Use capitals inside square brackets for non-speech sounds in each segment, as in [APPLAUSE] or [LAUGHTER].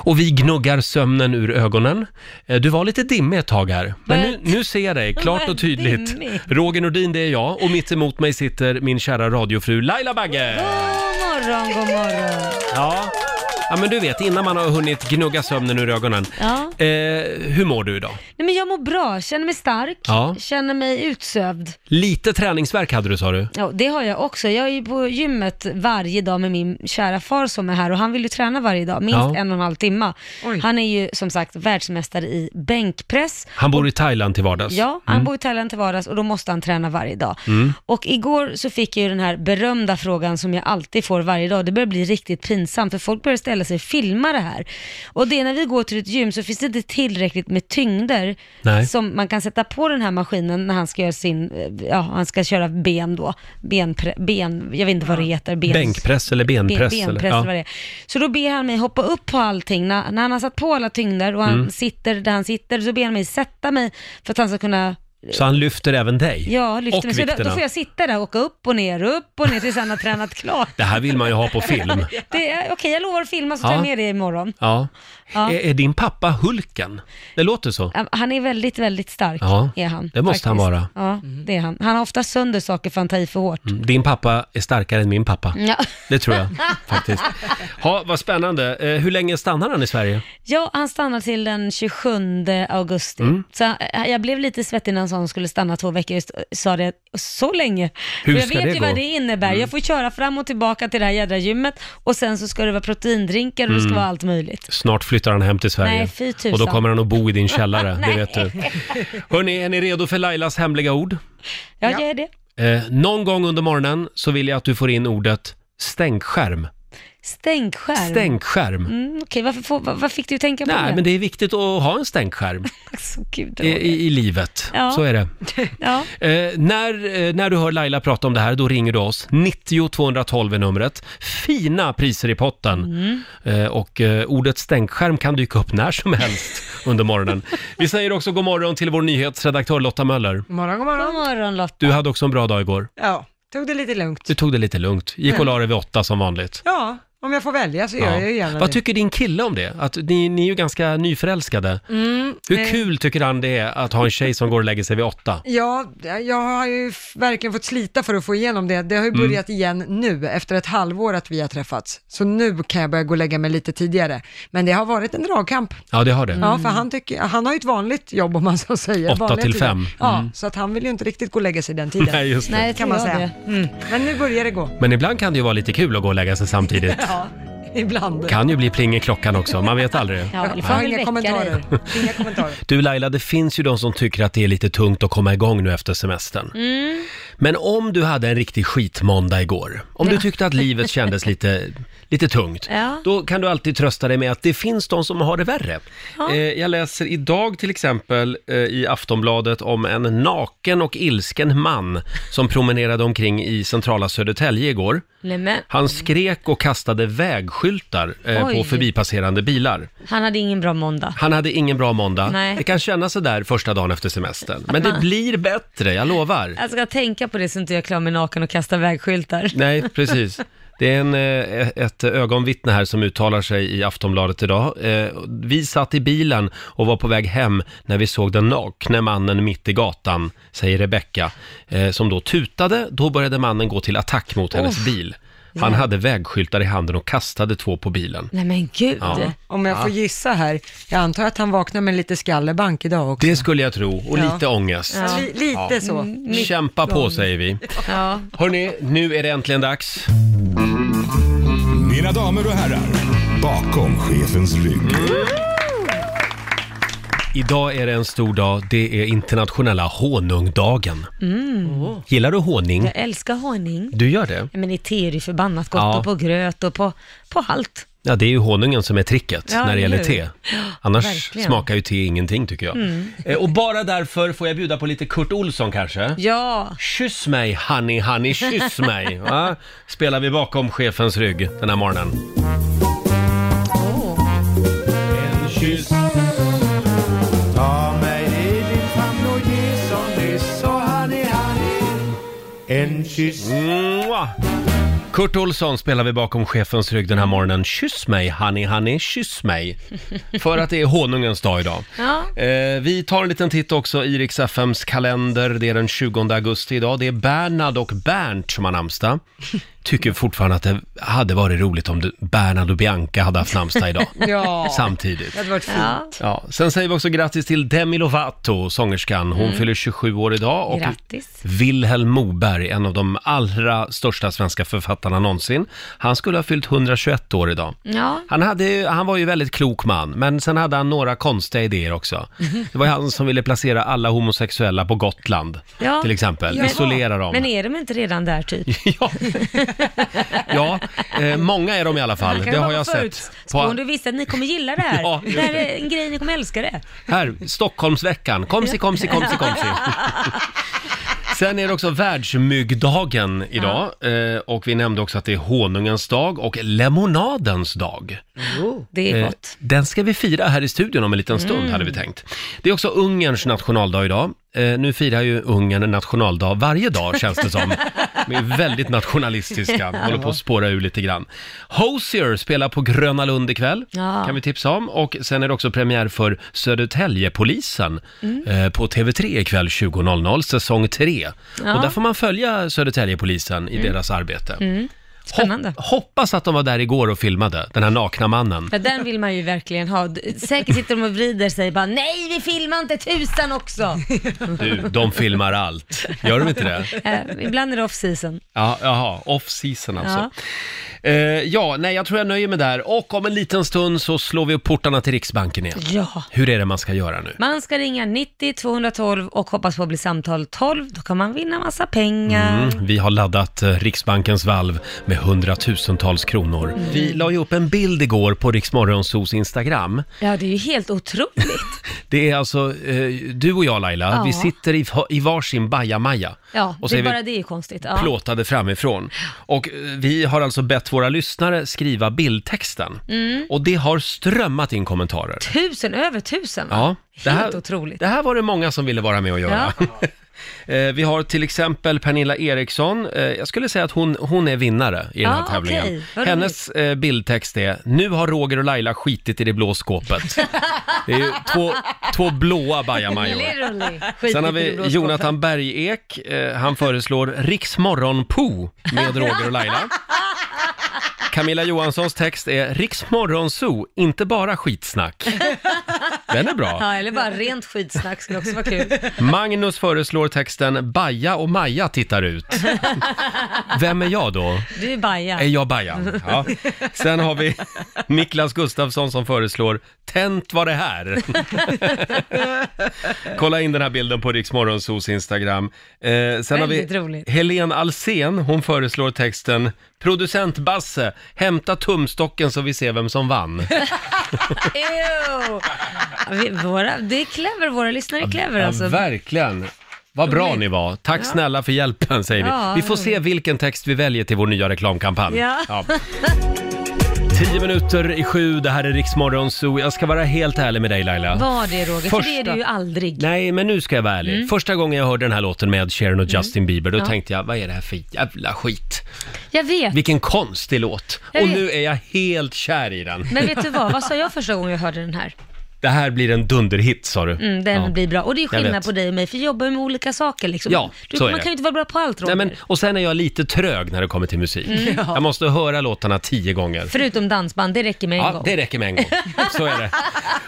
Och vi gnuggar sömnen ur ögonen. Eh, Du var lite dimmig ett tag här, men nu, nu ser jag dig klart och tydligt. Dimmig. Roger Nordin, det är jag och mitt emot mig sitter min kära radiofru Laila Bagge. God morgon, god morgon. Ja. ja, men du vet, innan man har hunnit gnugga sömnen ur ögonen. Ja. Eh, hur mår du idag? Nej, men jag mår bra, känner mig stark, Ja. känner mig utsövd. Lite träningsverk hade du, sa du? Ja, det har jag också. Jag är ju på gymmet varje dag med min kära far som är här och han vill ju träna varje dag, minst Ja. en och en halv timme. Han är ju som sagt världsmästare i bänkpress. Han bor i Thailand till vardags. Ja, han bor i Thailand till vardags och då måste han träna varje dag. Mm. Och igår så fick jag ju den här berömda frågan som jag alltid får varje dag. Det börjar bli riktigt pinsamt för folk börjar ställa sig och filma det här. Och det är när vi går till ett gym så finns det inte tillräckligt med tyngder Nej. som man kan sätta på den här maskinen när han ska göra sin, eh, ja han ska köra ben då. Benpre, ben, jag vet inte vad det heter. Ben, Bänkpress eller benpress? ben, benpress eller? eller vad det är. Så då ber han mig hoppa upp på allting. När, när han har satt på alla tyngder och han Mm. sitter där han sitter så ber han mig sätta mig för att han ska kunna Så han lyfter även dig? Ja, lyfter och mig. Så då, vikterna. då får jag sitta där och åka upp och ner, upp och ner tills han har tränat klart. [LAUGHS] Det här vill man ju ha på film. [LAUGHS] Det är- Okej, jag lovar att filma så tar Ja. jag med det imorgon. Ja. Ja. Är, är din pappa Hulken? Det låter så. Han är väldigt, väldigt stark. Ja, är han, det måste han faktiskt. vara. Ja, det är han. Han har ofta sönder saker för han tar i för hårt. Mm, Din pappa är starkare än min pappa. Ja. Det tror [LAUGHS] jag faktiskt. Ja, vad spännande. Eh, hur länge stannar han i Sverige? ja, han stannar till den 27 augusti. Mm. Så eh, jag blev lite svettig när han sa att han skulle stanna två veckor. Just eh, sa det så länge. Hur För jag ska vet det ju gå? Mm. vad det innebär. Jag får köra fram och tillbaka till det här jädra gymmet och sen så ska det vara proteindrinkar och det ska Mm. vara allt möjligt. Snart flyttar han hem till Sverige. Nej, fy tusan. Och då kommer han att bo i din källare, det [LAUGHS] Nej. vet du. Hörni, är ni redo för Lailas hemliga ord? Ja, jag är det. Eh, någon gång under morgonen så vill jag att du får in ordet stänkskärm. Stänkskärm. Stänkskärm. Mm, Okej, varför får, vad, vad fick du tänka på Nej, det? men det är viktigt att ha en stänkskärm [LAUGHS] Alltså, gud, i, i, i livet. Ja. Så är det. ja. Eh, när, eh, när du hör Laila prata om det här, då ringer du oss. 90 212 är numret. Fina priser i potten. Mm. Eh, och eh, ordet stänkskärm kan dyka upp när som [LAUGHS] helst under morgonen. Vi säger också god morgon till vår nyhetsredaktör Lotta Möller. God morgon, god God morgon. morgon Lotta. Du hade också en bra dag igår. Ja, tog det lite lugnt. Du tog det lite lugnt. Gick och la dig vid åtta som vanligt. Ja, om jag får välja så gör jag ju gärna Vad det. tycker din kille om det? Att ni, ni är ju ganska nyförälskade. Mm, Hur eh, kul tycker han det är att ha en tjej som går och lägger sig vid åtta? Ja, jag har ju f- verkligen fått slita för att få igenom det. Det har ju Mm. börjat igen nu, efter ett halvår att vi har träffats. Så nu kan jag börja gå och lägga mig lite tidigare. Men det har varit en dragkamp. Ja, det har det. Ja, för han, tycker, han har ju ett vanligt jobb om man så säger. Åtta vanliga till tider. fem. Ja, Mm. så att han vill ju inte riktigt gå och lägga sig den tiden. [LAUGHS] Nej, just det. Nej, kan man säga. Det. Mm. Men nu börjar det gå. Men ibland kan det ju vara lite kul att gå och lägga sig [LAUGHS] samtidigt. Ja, ibland. Kan ju bli pling i klockan också, man vet aldrig. Ja, eller Jag får har han inga väl väcka dig. kommentarer. Inga kommentarer. Du Laila, det finns ju de som tycker att det är lite tungt att komma igång nu efter semestern. Mm. Men om du hade en riktig skitmåndag igår, om du tyckte att livet [LAUGHS] kändes lite, lite tungt, Ja. då kan du alltid trösta dig med att det finns de som har det värre. Ja. Eh, jag läser idag till exempel eh, i Aftonbladet om en naken och ilsken man som promenerade omkring i centrala Södertälje igår. Nej, men, Han skrek och kastade vägskyltar eh, på Oj. förbipasserande bilar. han hade ingen bra måndag. Han hade ingen bra måndag. Nej. Det kan kännas sådär första dagen efter semestern. Men det blir bättre, jag lovar. Jag ska tänka på det så inte jag är klar med naken och kasta vägskyltar. Nej, precis. Det är en, eh, ett ögonvittne här som uttalar sig i Aftonbladet idag. Eh, Vi satt i bilen och var på väg hem när vi såg den nakne mannen mitt i gatan, säger Rebecka, eh, som då tutade. Då började mannen gå till attack mot hennes bil. Han hade vägskyltar i handen och kastade två på bilen. Nej men gud. Ja. Om jag får gissa här, jag antar att han vaknar med lite skallerbank idag också. Det skulle jag tro, och Ja. lite ångest. Så li- lite så. Mm. Kämpa på, säger vi. Ja. Hörni, nu är det äntligen dags. Mina damer och herrar, bakom chefens rygg. Idag är det en stor dag. Det är internationella honungdagen. Mm. Gillar du honung? Jag älskar honung. Du gör det? Men i te är det ju förbannat gott Ja. och på gröt och på, på allt. Ja, det är ju honungen som är tricket Ja, när det gäller eller hur? [GASPS] te. Annars verkligen. Mm. smakar ju te ingenting tycker jag. Eh, Och bara därför får jag bjuda på lite Kurt Olsson kanske? Ja, Kyss mig honey honey, kyss [LAUGHS] mig. Va? Spelar vi bakom chefens rygg den här morgonen. En kyss. Ta mig i din famn och ge som nyss, så honey honey. En kyss. Mua! Kurt Olsson spelar vi bakom chefens rygg den här morgonen. Kyss mig honey honey, kyss mig. För att det är honungens dag idag. Ja. Eh, vi tar en liten titt också i Rix FMs kalender. Det är den 20 augusti idag. Det är Bernhard och Bernt som har namnsdag. Tycker fortfarande att det hade varit roligt om du- Bernhard och Bianca hade haft namnsdag idag. Ja, Samtidigt. det hade varit fint. Ja. Ja, sen säger vi också grattis till Demi Lovato, sångerskan. Hon fyller 27 år idag. Och Grattis. Vilhelm Moberg, en av de allra största svenska författarna någonsin. Han skulle ha fyllt 121 år idag. Ja. Han, hade, ju- han var ju väldigt klok man, men sen hade han några konstiga idéer också. Det var ju han som ville placera alla homosexuella på Gotland, Ja. till exempel. Men- Isolera dem. Men är de inte redan där typ? [LAUGHS] ja, ja eh, många är de i alla fall. Kan Det bara har jag vara sett. förutspå- Du På, visste att ni kommer gilla det [LAUGHS] här. Ja, just det här är en grej ni kommer älska det. här, Stockholmsveckan. Komsi, komsi, komsi, komsi. Sen är det också världsmyggdagen idag. Eh, och vi nämnde också att det är honungens dag och lemonadens dag. Det är Eh, gott. Mm. Den ska vi fira här i studion om en liten stund, hade vi tänkt. Det är också Ungerns nationaldag idag. Eh, nu firar ju Ungern en nationaldag varje dag, känns det som. De är väldigt [LAUGHS] nationalistiska, håller på att spåra ur lite grann. Hosier spelar på Gröna Lund ikväll, Ja. kan vi tipsa om. Och sen är det också premiär för Södertäljepolisen Mm. eh, på TV3 ikväll 20.00, säsong 3. Ja. Mm. Och där får man följa Södertäljepolisen i deras arbete. Spännande. Hop- hoppas att de var där igår och filmade, den här nakna mannen. Ja, den vill man ju verkligen ha. D- Säkert sitter de och vrider sig bara, nej vi filmar inte [LAUGHS] tusan också. Du, de filmar allt. Gör de inte det? Eh, ibland är det off season. Ja, jaha, off season alltså. Ja. ja, nej, jag tror jag nöjer mig där. Och om en liten stund så slår vi upp portarna till Riksbanken igen. Ja. Hur är det man ska göra nu? Man ska ringa 90 212 och hoppas på att bli samtal 12. Då kan man vinna massa pengar. Mm, vi har laddat eh, Riksbankens valv med hundratusentals kronor. Mm. Vi la ju upp en bild igår på Riksmorgonsos Instagram. Ja, det är ju helt otroligt. Det är alltså eh, du och jag Laila, Ja. vi sitter i, i varsin bajamaja. [LAUGHS] Ja, Och så är det är vi- bara det är ju konstigt. Ja. plåtade framifrån. Och eh, vi har alltså bett våra lyssnare skriva bildtexten. Mm. Och det har strömmat in kommentarer. Tusen, över tusen va? Ja, det Helt här, otroligt. Det här var det många som ville vara med och göra. [LAUGHS] Eh, Vi har till exempel Pernilla Eriksson. Eh, Jag skulle säga att hon, hon är vinnare i den här Ja, tävlingen. Ah, okej. Vad Hennes eh, bildtext är “Nu har Roger och Laila skitit i det blå [LAUGHS] skåpet”. Det är ju två, två blåa bajamajor. Literally. [LAUGHS] Skit Sen har i vi blåskåpet. Jonathan Bergek. Eh, han föreslår Riksmorgonpo med [LAUGHS] Roger och Laila. Camilla Johanssons text är Riksmorgonso, inte bara skitsnack. Den är bra. Ja, eller bara rent skitsnack skulle också vara kul. Magnus föreslår texten Baja och Maja tittar [LAUGHS] ut. Vem är jag då? Du är Baja. Är jag Baja? Mm. Ja. Sen har vi Niklas Gustafsson som föreslår Tänt var det [LAUGHS] här. Kolla in den här bilden på Riksmorgonsos Instagram. Eh, sen har Väldigt vi roligt. Helene Alsen. hon föreslår texten Producent Basse, hämta tumstocken så vi ser vem som vann. Ew. Vi, våra, det är clever, våra lyssnare är clever Ja, alltså. verkligen. Vad bra ni var. Tack snälla för hjälpen, säger vi. Ja, vi får se vilken text vi väljer till vår nya reklamkampanj. Ja. Tio minuter i sju, det här är Riksmorgon Zoo. Jag ska vara helt ärlig med dig Laila. Var det Roger, för det är Första- du ju aldrig. Nej, men nu ska jag vara ärlig. Mm. Första gången jag hörde den här låten med Ed Sheeran och Justin Bieber, då tänkte jag, vad är det här för jävla skit? Jag vet, Vilken konstig låt. Jag och vet. nu är jag helt kär i den. [LAUGHS] men vet du vad? Vad sa jag första gången jag hörde den här? Det här blir en dunderhit, sa du. Mm, den Ja. blir bra. Och det är vet. skillnad på dig och mig, för vi jobbar ju med olika saker liksom. Ja, du, så är man det. kan ju inte vara bra på allt Roger. Mm. Nej, men, och sen är jag lite trög när det kommer till musik. Jag måste höra låtarna tio gånger. Förutom dansband, det räcker med en Ja, gång. det räcker med en gång. Så är det.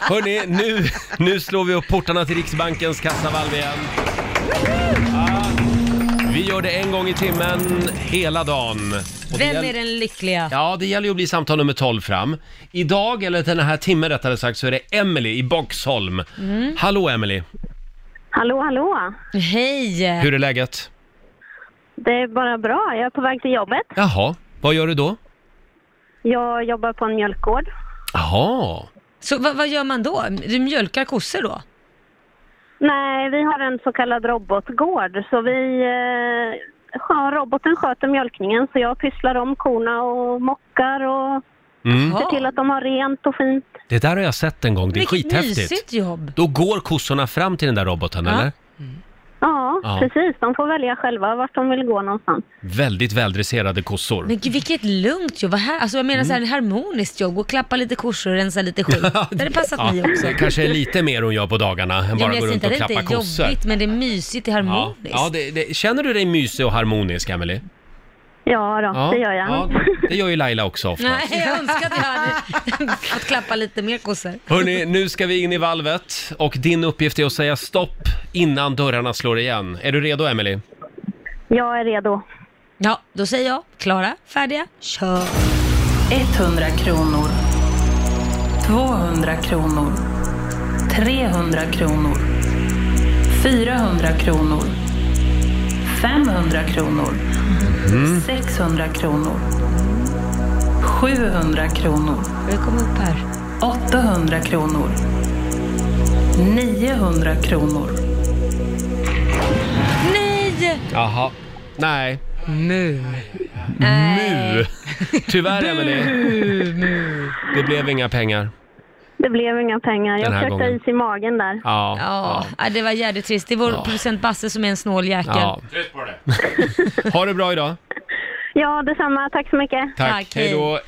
Hörni, nu, nu slår vi upp portarna till Riksbankens kassavalv igen. Ja, vi gör det en gång i timmen, hela dagen. Och det Vem gäll- är den lyckliga? Ja, det gäller ju att bli samtal nummer 12 fram. Idag, eller den här timmen rättare sagt, så är det Emily i Boxholm. Mm. Hallå Emily, Hallå, hallå! Hej! hur är läget? Det är bara bra. Jag är på väg till jobbet. Jaha, vad gör du då? Jag jobbar på en mjölkgård. Jaha, Så vad, vad gör man då? Du mjölkar kossor då? Nej, vi har en så kallad robotgård. Så vi, eh, skö- roboten sköter mjölkningen så jag pysslar om korna och mockar och Mm. ser till att de har rent och fint. det där har jag sett en gång, det är Vilket skithäftigt. mysigt jobb. Då går kossorna fram till den där roboten, Ja. eller? Ja, Ja, Ja. precis. De får välja själva vart de vill gå någonstans. Väldigt väldresserade kossor. Men gud, vilket lugnt jobb. Vad här, alltså jag menar så här, Mm. ett harmoniskt jobb. Gå och klappa lite korsor och rensa [LAUGHS] lite skit. Det hade passat mig också. det kanske är lite mer hon gör på dagarna än Jag bara gå menar runt inte och det inte klappa är kossor. jobbigt, men det är mysigt, det är Ja, harmoniskt. ja det, det, känner du dig mysig och harmonisk, Emily? Ja, då, det gör jag. Ja, det gör ju Laila också ofta. Nej, jag önskar att jag hade [LAUGHS] fått klappa lite mer kossor. Hörni, nu ska vi in i valvet och din uppgift är att säga stopp innan dörrarna slår igen. Är du redo, Emily? Jag är redo. Ja, då säger jag klara, färdiga, kör. 100 kronor. 200 kronor. 300 kronor. 400 kronor. 500 kronor. Mm. 600 kronor. 700 kronor. Vi kommer upp här. 800 kronor. 900 kronor. Nej! Jaha. Nej. Nu. Mu. Tyvärr, Emily. Det blev inga pengar. Det blev inga pengar. Den Jag här försökte ha gången. is i magen där. Ja. Ja, ja, det var jävligt trist. Det är vår producent Basse som är en snål jäkel. ja. [LAUGHS] Ha det bra idag. Ja, detsamma. Tack så mycket. Tack. Tack, hej då.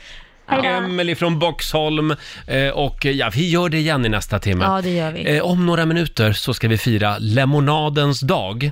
Hej då. Emily från Boxholm. Eh, Och eh, ja, vi gör det igen i nästa timme. Ja, det gör vi. Eh, Om några minuter så ska vi fira lemonadens dag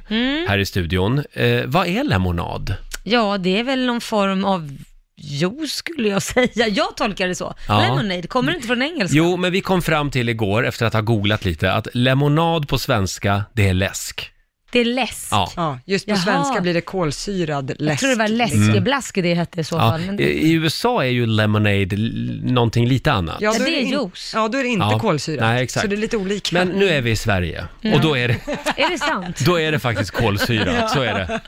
här i studion. Eh, Vad är lemonad? Ja, det är väl någon form av juice skulle jag [LAUGHS] säga. Jag tolkar det så. Ja. Lemonade, kommer det inte från engelska? Jo, men vi kom fram till igår, efter att ha googlat lite, att lemonad på svenska, det är läsk. Det är läsk. Ja. Ja, just på Jaha. svenska blir det kolsyrad läsk. Jag tror det var läskeblask det hette i så Mm. Ja, fall. Men i- I USA är ju lemonade l- någonting lite annat. Ja, Ja, då det är in- juice. Ja, då är det inte Ja. kolsyrat. Nej, exakt. Så det är lite olika. Men nu är vi i Sverige och då är det, är [LAUGHS] det sant? då är det faktiskt kolsyra, så är det.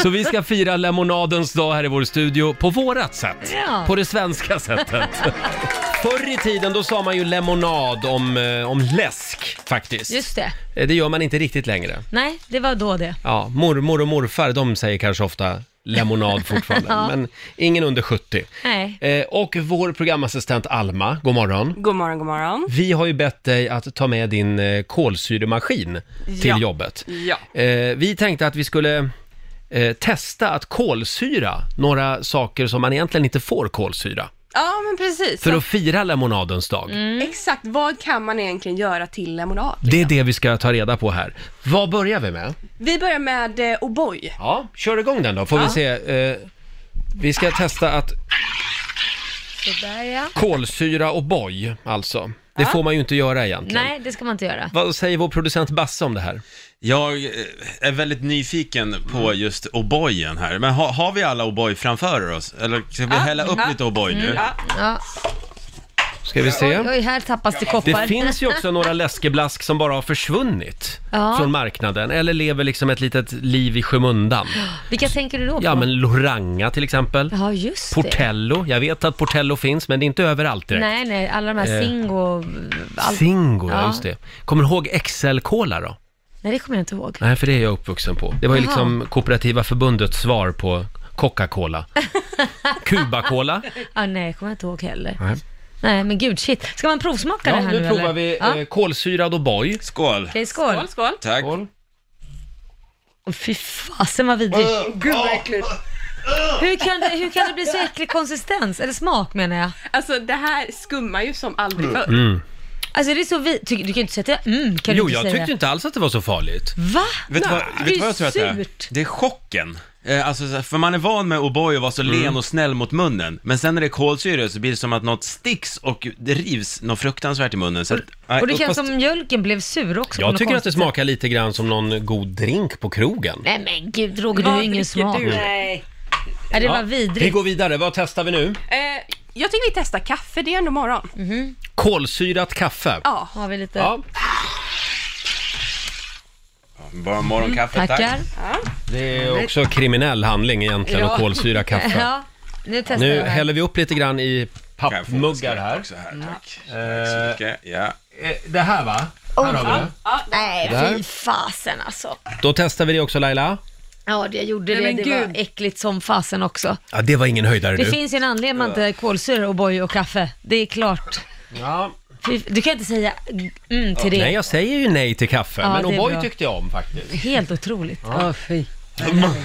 Så vi ska fira lemonadens dag här i vår studio på vårat sätt, Ja. på det svenska sättet. Förr i tiden då sa man ju lemonad om, eh, om läsk faktiskt. Just det. Eh, Det gör man inte riktigt längre. Nej, det var då det. Ja, mormor och morfar, de säger kanske ofta [LAUGHS] lemonad fortfarande, men ingen under 70. Nej. Eh, och vår programassistent Alma, god morgon. God morgon, god morgon. Vi har ju bett dig att ta med din eh, kolsyremaskin till Ja. jobbet. Ja. Eh, vi tänkte att vi skulle eh, testa att kolsyra några saker som man egentligen inte får kolsyra. Ja, men precis. Mm. För Så, att fira lemonadens dag. Exakt, vad kan man egentligen göra till lemonad? Det är det vi ska ta reda på här. Vad börjar vi med? Vi börjar med eh, O'boy. Ja, kör igång den då, får vi se. Eh, vi ska testa att Sådär ja. kolsyra och boj, alltså. Det får man ju inte göra egentligen. Nej, det ska man inte göra. Vad säger vår producent Basse om det här? Jag eh, är väldigt nyfiken på Mm. just O'boyen här. Men har, har vi alla O'boy framför oss? Eller ska vi hälla upp lite O'boy nu? Ah, Mm, Ja. Ska vi se. Oj, här tappas det Det koppar. finns ju också några läskeblask som bara har försvunnit Ja. från marknaden, eller lever liksom ett litet liv i skymundan. Vilka tänker du då på? Ja, men Loranga till exempel. Ja, just det. Portello. Jag vet att Portello finns, men det är inte överallt direkt. Eh. Nej, nej, alla de här Zingo... Allt. Zingo, ja Ja. just det. Kommer du ihåg XL-Cola då? Nej, det kommer jag inte ihåg. Nej, för det är jag uppvuxen på. Det var ju Jaha. liksom Kooperativa Förbundets svar på [LAUGHS] Coca-Cola. Cuba-Cola. Ah, nej, kommer jag inte ihåg heller. Nej. Nej. men gud, shit. Ska man provsmaka det Ja, här nu provar eller? vi Ja. eh, kolsyrad O'boy. Skål! Okej, skål. Skål, skål. Tack. Åh, Fy fasen vad vidrigt. Gud vad äckligt. Hur kan, det, hur kan det bli så äcklig konsistens? Eller smak menar jag. Alltså det här skummar ju som aldrig förr. Mm. Alltså det är så vi... Ty, du kan ju inte säga att det mm, kan Jo, du inte jag säga. tyckte inte alls att det var så farligt. Va? Vet du vad, Nej. vet du Det är vad jag tror att det är? surt. Det är chocken. Eh, Alltså, så här, för man är van med O'boy och vara så Mm. len och snäll mot munnen. Men sen när det är kolsyra så blir det som att något sticks och det rivs något fruktansvärt i munnen. Så att, nej, Och det och känns fast- som mjölken blev sur också. på Jag något tycker att det konstigt smakar lite grann som någon god drink på krogen. sätt. Nej men gud Roger, du har ju ingen smak. Nej. Ja, det var Vi vidrigt. går vidare, vad testar vi nu? Eh, jag tycker vi testar kaffe, det är ändå morgon. Kolsyrat kaffe. Ja. Har vi lite... Ja, Bara morgonkaffe, Mm, Tackar. tack. det är också kriminell handling egentligen att kolsyra kaffe. [LAUGHS] Ja, nu testar Nu jag. det här. häller vi upp lite grann i Kan jag få en pappmuggar skvätt här. Också här tack. Tack så mycket. Ja. Eh, Det här va? Oh, Här har vi det. Nej, fy fasen alltså. Då testar vi det också Laila. Ja, det jag gjorde det. men det gud. var äckligt som fasen också. Ja, det var ingen höjdare Det du. finns ju en anledning man inte kolsyrar O'boy och kaffe. Det är klart. Ja. Fy- Du kan inte säga mm till det. Nej, jag säger ju nej till kaffe, Ja, men det är O'boy bra. tyckte jag om faktiskt. Helt otroligt. Ja, fy.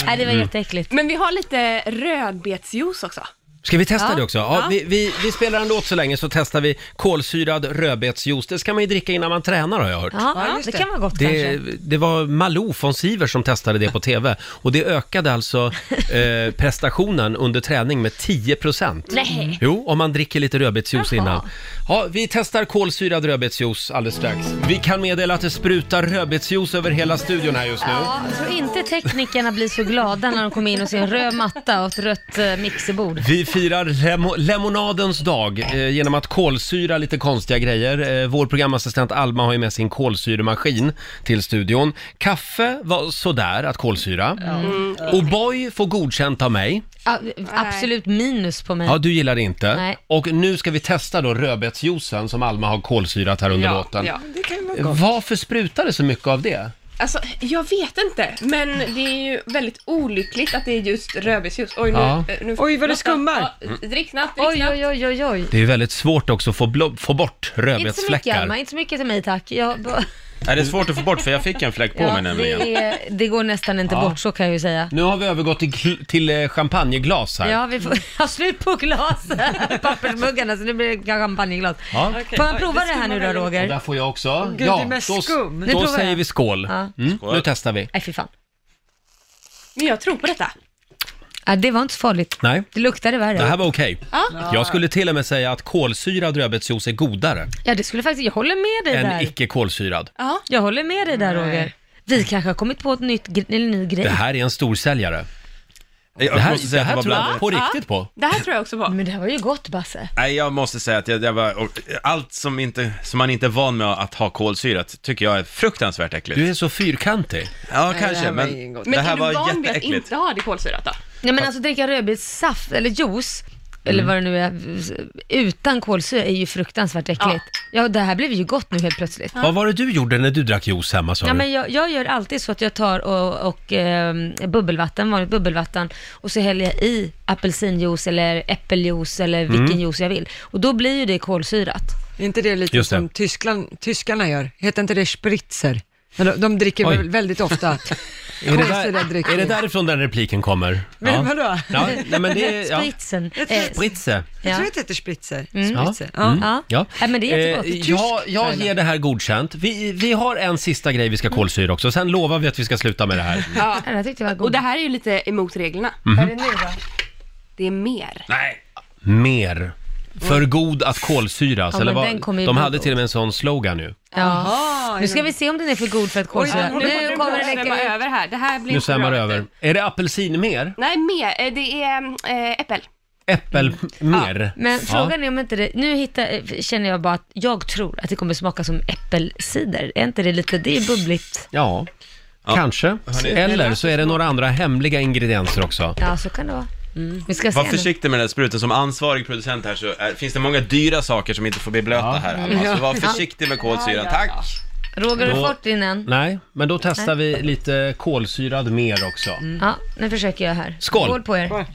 Nej, det var Mm. jätteäckligt. Men vi har lite rödbetsjuice också. Ska vi testa Ja. det också? Ja, Ja. Vi, vi, vi spelar en låt så länge så testar vi kolsyrad rödbetsjuice. Det ska man ju dricka innan man tränar har jag hört. Ja, Ja, ja, just det det. kan vara gott Det, kanske. det var Malou von Sivers som testade det på TV och det ökade alltså [LAUGHS] eh, prestationen under träning med 10%. Nej. Jo, om man dricker lite rödbetsjuice Jaha. innan. Ja, vi testar kolsyrad rödbetsjuice alldeles strax. Vi kan meddela att det sprutar rödbetsjuice över hela studion här just nu. Ja, jag tror inte teknikerna blir så glada när de kommer in och ser en röd matta och ett rött eh, mixerbord. Vi firar lemo- lemonadens dag eh, genom att kolsyra lite konstiga grejer. Eh, vår programassistent Alma har ju med sin kolsyremaskin till studion. Kaffe var sådär att kolsyra. Mm. Mm. O'boy får godkänt av mig. Ja, absolut minus på mig. Ja, du gillar det inte. Nej. Och nu ska vi testa då rödbetsjuicen som Alma har kolsyrat här under låten. ja, det kan vara gott. Varför sprutar det så mycket av det? Alltså, jag vet inte, men det är ju väldigt olyckligt att det är just rödbetsjuice. Oj, nu, Ja. Mm. eh, nu, Oj, vad det Lotta, skummar. ja, drick snabbt, drick Oj, snabbt. oj, oj, oj, oj. Det är ju väldigt svårt också att få, blo- få bort Inte så mycket rödbetsfläckar. Alma, inte så mycket till mig tack. Jag, Nej, det är svårt att få bort för jag fick en fläck på ja, mig nämligen. det, är, det går nästan inte bort, så kan jag ju säga. Nu har vi övergått till, gl- till eh, champagneglas här. Ja, vi får [LAUGHS] ja, slut på glas, [LAUGHS] pappersmuggarna, så nu blir det champagneglas. Ja. Får jag prova det här nu då Och Roger? där får jag också. gud, det är mest då, skum. Nu då provar säger jag. vi skål. Ja. Mm, Skål. Nu testar vi. Nej, fy fan. Men jag tror på detta. Ja, det var inte så farligt. Nej, Det luktade värre. det här var okej. Ja. Jag skulle till och med säga att kolsyrad rödbetsjuice är godare Ja, det skulle faktiskt, jag håller med dig än där. icke kolsyrad. Ja. Jag håller med dig där Roger. Vi kanske har kommit på ett nytt, gre- eller ny grej. Det här är en storsäljare. Jag Det här, måste det säga att här jag tror var jag bland... på riktigt på. Det här tror jag också på. Men det här var ju gott Basse. Nej, jag måste säga att jag, jag var... och Allt som, inte, som man inte är van med att ha kolsyrat tycker jag är fruktansvärt äckligt. Du är så fyrkantig. Ja, det kanske, här var men inget gott. Men det här är du var van vid att jätteäckligt. inte ha det kolsyrat då? Ja men alltså dricka rödbetssaft eller juice, Mm. eller vad det nu är, utan kolsyra är ju fruktansvärt äckligt. Ja, det här blev ju gott nu helt plötsligt. Vad var det du gjorde när du drack juice hemma sa Ja, du? men jag, jag gör alltid så att jag tar och, och ehm, bubbelvatten, vanligt bubbelvatten, och så häller jag i apelsinjuice eller äppeljuice eller Mm. vilken juice jag vill. Och då blir ju det kolsyrat. Är inte det lite Just det. som Tyskland, tyskarna gör? Heter inte det spritzer? Men de, de dricker Oj. väl väldigt [LAUGHS] ofta är, det kolsyrad dryck. där, är det därifrån den repliken kommer? Men vadå? Ja, nej, men det [LAUGHS] är... Ja. Spritzen. Eh, Spritze. Jag Ja. Mm. tror att det heter spritzer. Ja. Mm. spritzer. Ja. Ja. Ja. Nej, men det är jättegott. Eh, jag, jag ger det här godkänt. Vi, vi har en sista grej vi ska kolsyra också, sen lovar vi att vi ska sluta med det här. Ja. Mm. Ja, jag tyckte det var Och gott. det här är ju lite emot reglerna. Mhm. Vad är det nu då? Det är mer. Nej, Mer. För god att kolsyras, Mm. Ja, eller men den kommer vad? ju De bli hade god. till och med en sån slogan ju. Ja. Nu ska vi se om den är för god för att kolsyra. Ah, nu håller Nu kommer den på att det svämma läcka ut. över här. Det här blir Nu inte svämmar det bra. över. Är det apelsin mer? Nej, mer. Eh, Det är eh, äppel. Äppel mer? Mm. Men frågan är om inte det, nu hittar, känner jag bara att jag tror att det kommer smaka som äppelcider. Är inte det lite, det är bubbligt. Ja. ja. Kanske. Eller så är det några andra hemliga ingredienser också. Ja, så kan det vara. Mm. Vi ska se var nu. försiktig med den där spruten. Som ansvarig producent här så är, finns det många dyra saker som inte får bli blöta här. Alma. Så var försiktig med kolsyran, tack! Roger, har du Då- fått din än? Nej, men då testar vi lite kolsyrad mer också. Ja, nu försöker jag här. Skål. Skål på er.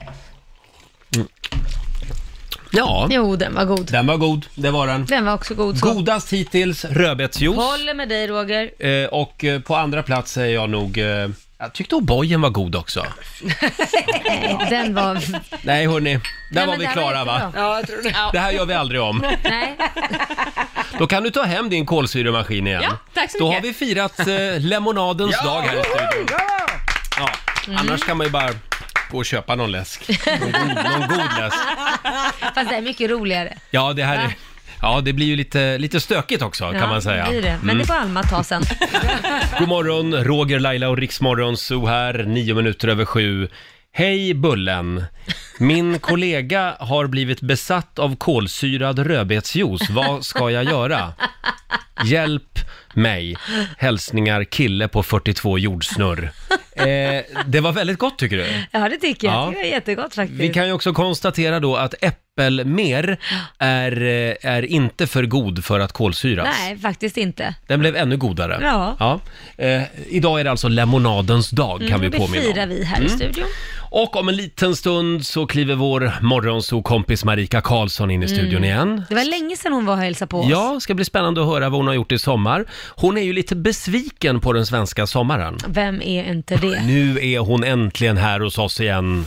Ja, Jo, den var god. den var god. Det var den. Den var också god. så. Godast hittills rödbetsjuice. Håller med dig Roger. Eh, och eh, på andra plats säger jag nog... Eh, jag tyckte O'boyen var god också. Nej, [LAUGHS] den var... Nej, hörni. Där Nej, var men vi den klara, va? jättebra. Ja, jag tror det. Det här gör vi aldrig om. Nej, Då kan du ta hem din kolsyremaskin igen. Ja, tack så Då har mycket. vi firat eh, lemonadens dag här i studion. Ja, Mm. annars kan man ju bara gå och köpa någon läsk. Någon god, någon god [LAUGHS] läsk. fast det är mycket roligare. Ja, det här är... Ja, det blir ju lite, lite stökigt också Ja, kan man säga. Mm. det blir det. Men det får Alma ta sen. God morgon, Roger, Laila och Riksmorgon Zoo här, nio minuter över sju. Hej Bullen! Min kollega har blivit besatt av kolsyrad rödbetsjuice. Vad ska jag göra? Hjälp mig! Hälsningar kille på 42 jordsnurr. Eh, det var väldigt gott tycker du? [LAUGHS] Ja, det tycker jag. Ja. Det var jättegott faktiskt. Vi kan ju också konstatera då att äppel äppel mer är, eh, är inte för god för att kolsyras. Nej, faktiskt inte. Den blev ännu godare. Ja. Eh, idag är det alltså lemonadens dag kan vi Mm, påminna Det firar om. vi här i studion. Och om en liten stund så kliver vår morgonsokompis Marika Karlsson in i Mm. studion igen. Det var länge sedan hon var och hälsade på oss. Ja, ska bli spännande att höra vad hon har gjort i sommar. Hon är ju lite besviken på den svenska sommaren. Vem är inte det? Nu är hon äntligen här hos oss igen.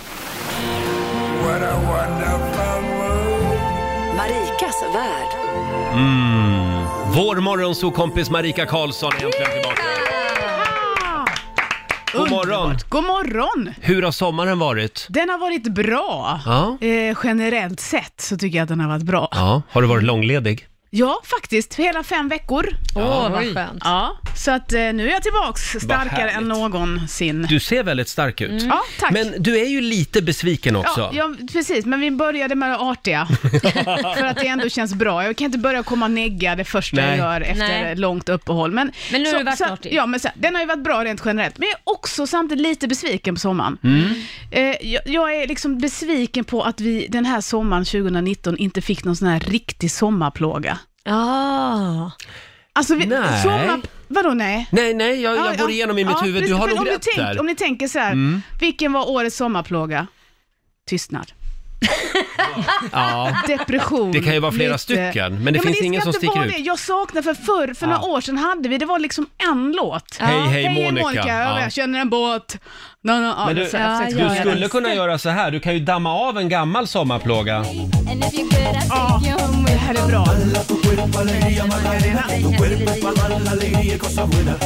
What a wonderful world. Marikas värld. Mm. Vår morgonsokompis Marika Karlsson är äntligen tillbaka. God morgon! God morgon! Hur har sommaren varit? Den har varit bra. Ja. Eh, generellt sett så tycker jag att den har varit bra. Ja, har du varit långledig? Ja, faktiskt. Hela fem veckor. Åh, Oj. vad skönt. Ja, så att eh, nu är jag tillbaks starkare härligt. än någonsin. Mm. Du ser väldigt stark ut. Ja, tack. Men du är ju lite besviken också. Ja, ja, precis. Men vi började med det [LAUGHS] artiga. för att det ändå känns bra. Jag kan inte börja komma och negga det första Nej. jag gör efter Nej. långt uppehåll. Men, Men nu har så, du varit så, artig. Ja, men så, den har ju varit bra rent generellt. Men jag är också samtidigt lite besviken på sommaren. Mm. Eh, jag, jag är liksom besviken på att vi den här sommaren 2019 inte fick någon sån här riktig sommarplåga. Ah. Alltså, vi, Nej. sommar... Vadå nej? Nej, nej, jag, Ja, jag går ja. igenom i mitt Ja, huvud. Du precis. har För nog om rätt du tänk, där. Om ni tänker så här, Mm. vilken var årets sommarplåga? Tystnad. [LAUGHS] Ja. Depression. Det kan ju vara flera stycken, men det finns ska ingen som inte sticker vara ut. Det. Jag saknar för förr, för några år sedan hade vi, det var liksom en låt. Hej, hej, Monica. Monica, ja. Ja. jag känner en båt. No, no, ja, Men du- så här, så här, Ja, så Du här. skulle kunna göra så här, du kan ju damma av en gammal sommarplåga. Ja, det här är bra.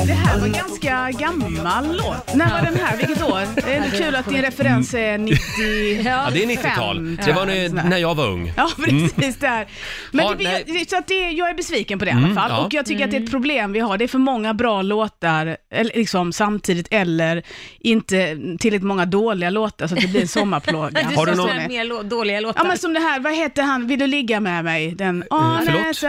Det här var ganska gammal låt. När var den här? Vilket år? Det är ändå kul att din referens är 90... Mm. Ja, det är 90-tal. Det var när, när jag var ung. Mm. Ja, precis där. Men Ja, det, nej. Mm, jag, så att det, jag är besviken på det i alla fall. ja. Och jag tycker att det är ett problem vi har. Det är för många bra låtar eller, liksom, samtidigt eller inte tillräckligt många dåliga låtar så att det blir en sommarplåga. Du Har du någon- sa sådana här mer lå- dåliga låtar. Ja men som det här, vad heter han, vill du ligga med mig? Den... Eh, förlåt?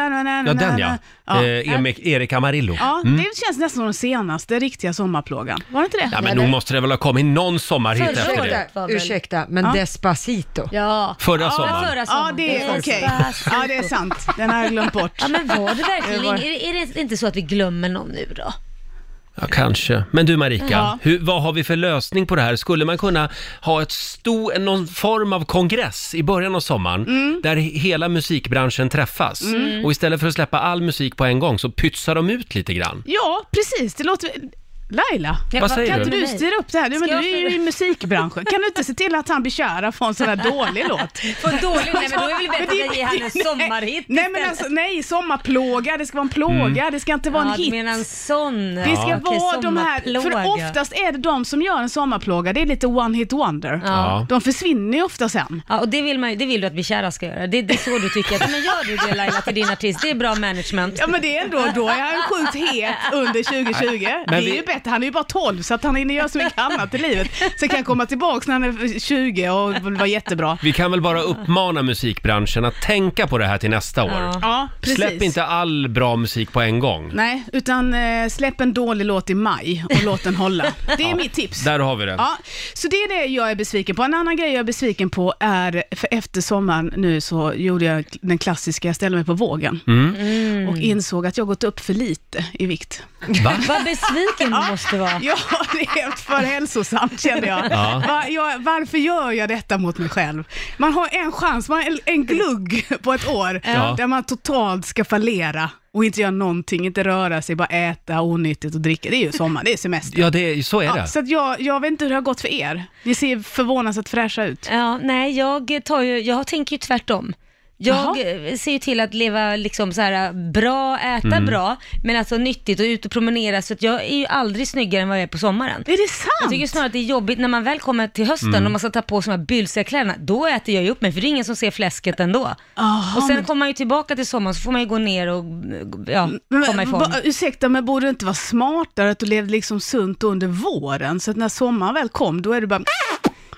Ja, den ja. Eh, Emek- Erik Amarillo. Ja, det känns nästan som den senaste riktiga sommarplågan. Var det inte det? Ja, men nog måste det väl ha kommit någon sommarhit Förra efter året. det. var väl- Ursäkta, men Ja. Despacito. Ja. Förra Ja, sommaren. förra Ja, sommaren. det är okej. Ja, det är sant. Den har jag glömt bort. Ja, men var det verkligen Det var- ingen- är, det, är det inte så att vi glömmer någon nu då? Ja, kanske. Men du Marika, Ja. hur, vad har vi för lösning på det här? Skulle man kunna ha ett sto, en- någon form av kongress i början av sommaren Mm. där hela musikbranschen träffas? Och istället för att släppa all musik på en gång så pytsar de ut lite grann. Ja, precis. Det låter... Laila, Ja, Vad säger kan inte du? du styra upp det här? Du, men du Ska är jag- ju i musikbranschen. Kan du inte se till att han blir kära från en sån här dålig låt? För dålig, nej men då är det väl bättre att jag ger han en sommarhit [LAUGHS] Nej, men istället. alltså, nej, sommarplåga. Det ska vara en plåga. Mm. Det ska inte vara Ja, en du hit. menar en sån. Det ska Ja. Okej, vara de här, för sommarplåga. oftast är det de som gör en sommarplåga, det är lite one hit wonder. Ja. De försvinner ju ofta sen. Ja, och det vill, man, ju- det vill du att vi kära ska göra. Det, det är så du tycker att, men gör du det Laila till din artist, det är bra management. Ja men det är ändå, då är han sjukt het under 2020. det är vi- ju bättre, han är ju bara 12 så att han hinner göra så mycket annat i livet. Sen kan han komma tillbaka när han är 20 och vara jättebra. Vi kan väl bara uppmana musikbranschen att tänka på det här till nästa år. Ja, precis. Släpp inte all bra musik på en gång. Nej, utan eh, släpp en dålig låt i maj och låt den hålla. Det är mitt tips. Där har vi det. Ja, så det är det jag är besviken på. En annan grej jag är besviken på är, för efter sommaren nu så gjorde jag den klassiska, jag ställde mig på vågen Mm. och insåg att jag gått upp för lite i vikt. Va? Vad besviken du måste vara. Jag har levt för hälsosamt kände jag. Ja. Va, jag. Varför gör jag detta mot mig själv? Man har en chans, man har en, en glugg på ett år Ja. där man totalt ska fallera och inte göra någonting, inte röra sig, bara äta onyttigt och dricka. Det är ju sommar, det är semester. Ja, det är, så är Ja, det. så att jag, jag vet inte hur det har gått för er. Ni ser förvånansvärt fräscha ut. Ja, nej, jag, tar ju, jag tänker ju tvärtom. Jag ser ju till att leva liksom så här bra, äta bra, men alltså nyttigt och ut och promenera. Så att jag är ju aldrig snyggare än vad jag är på sommaren. Är det Jag sant? tycker snarare att det är jobbigt när man väl kommer till hösten och man ska ta på sig de här bylsiga kläderna. Då äter jag ju upp mig, för det är ingen som ser fläsket ändå. Aha, och sen men- kommer man ju tillbaka till sommaren, så får man ju gå ner och ja, Men, komma ifrån. va- ursäkta, men borde det inte vara smartare att du levde liksom sunt under våren? Så att när sommaren väl kom, då är du bara...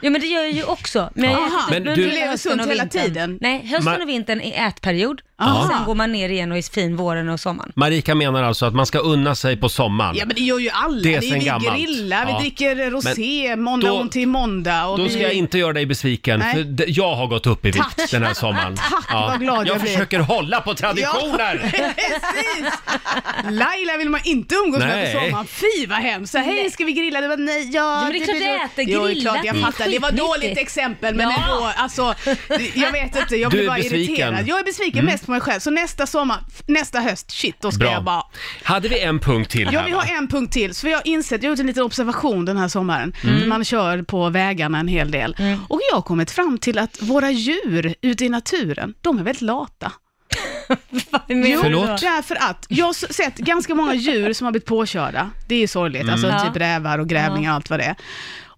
Ja men det gör jag ju också. Men, jag Aha, äter typ men under du- Du lever hösten sunt och hela vintern. tiden? Nej, hösten Ma- och vintern är ätperiod. Aha. Och sen går man ner igen och är fin våren och sommaren. Marika menar alltså att man ska unna sig på sommaren. Ja men det gör ju alla. Det är vi sen gammalt. grillar, vi Ja. dricker rosé Men måndag då- om till måndag. Och Då vi... ska jag inte göra dig besviken, Nej. för d- jag har gått upp i vikt Tack. den här sommaren. [LAUGHS] Tack, vad glad jag jag blir. försöker hålla på traditioner! Ja, precis! Laila vill man inte umgås med på Nej. sommaren. Fy vad hemskt! Så, Hej, ska vi grilla? Det var nej, ja. Ja, men det är klart jag äter. Jo, det är Grillat klart jag är fattar. Det var dåligt skitnyttigt. exempel, men Ja. ändå. Alltså, jag vet inte, jag Du blir är bara besviken. Mm. irriterad. Jag är besviken mest på mig själv. Så nästa sommar, f- nästa höst, shit, då ska jag bara... Bra. Hade vi en punkt till Ja, här vi va? har en punkt till. Så vi har insett, jag har gjort en liten observation den här sommaren. Mm. Man kör på vägarna en hel del. Och jag har kommit fram till att våra djur ute i naturen, de är väldigt lata. Jo, Förlåt? därför att jag har s- sett ganska många djur som har blivit påkörda. Det är ju sorgligt, Ja. Mm. alltså typ rävar och grävlingar och allt vad det är.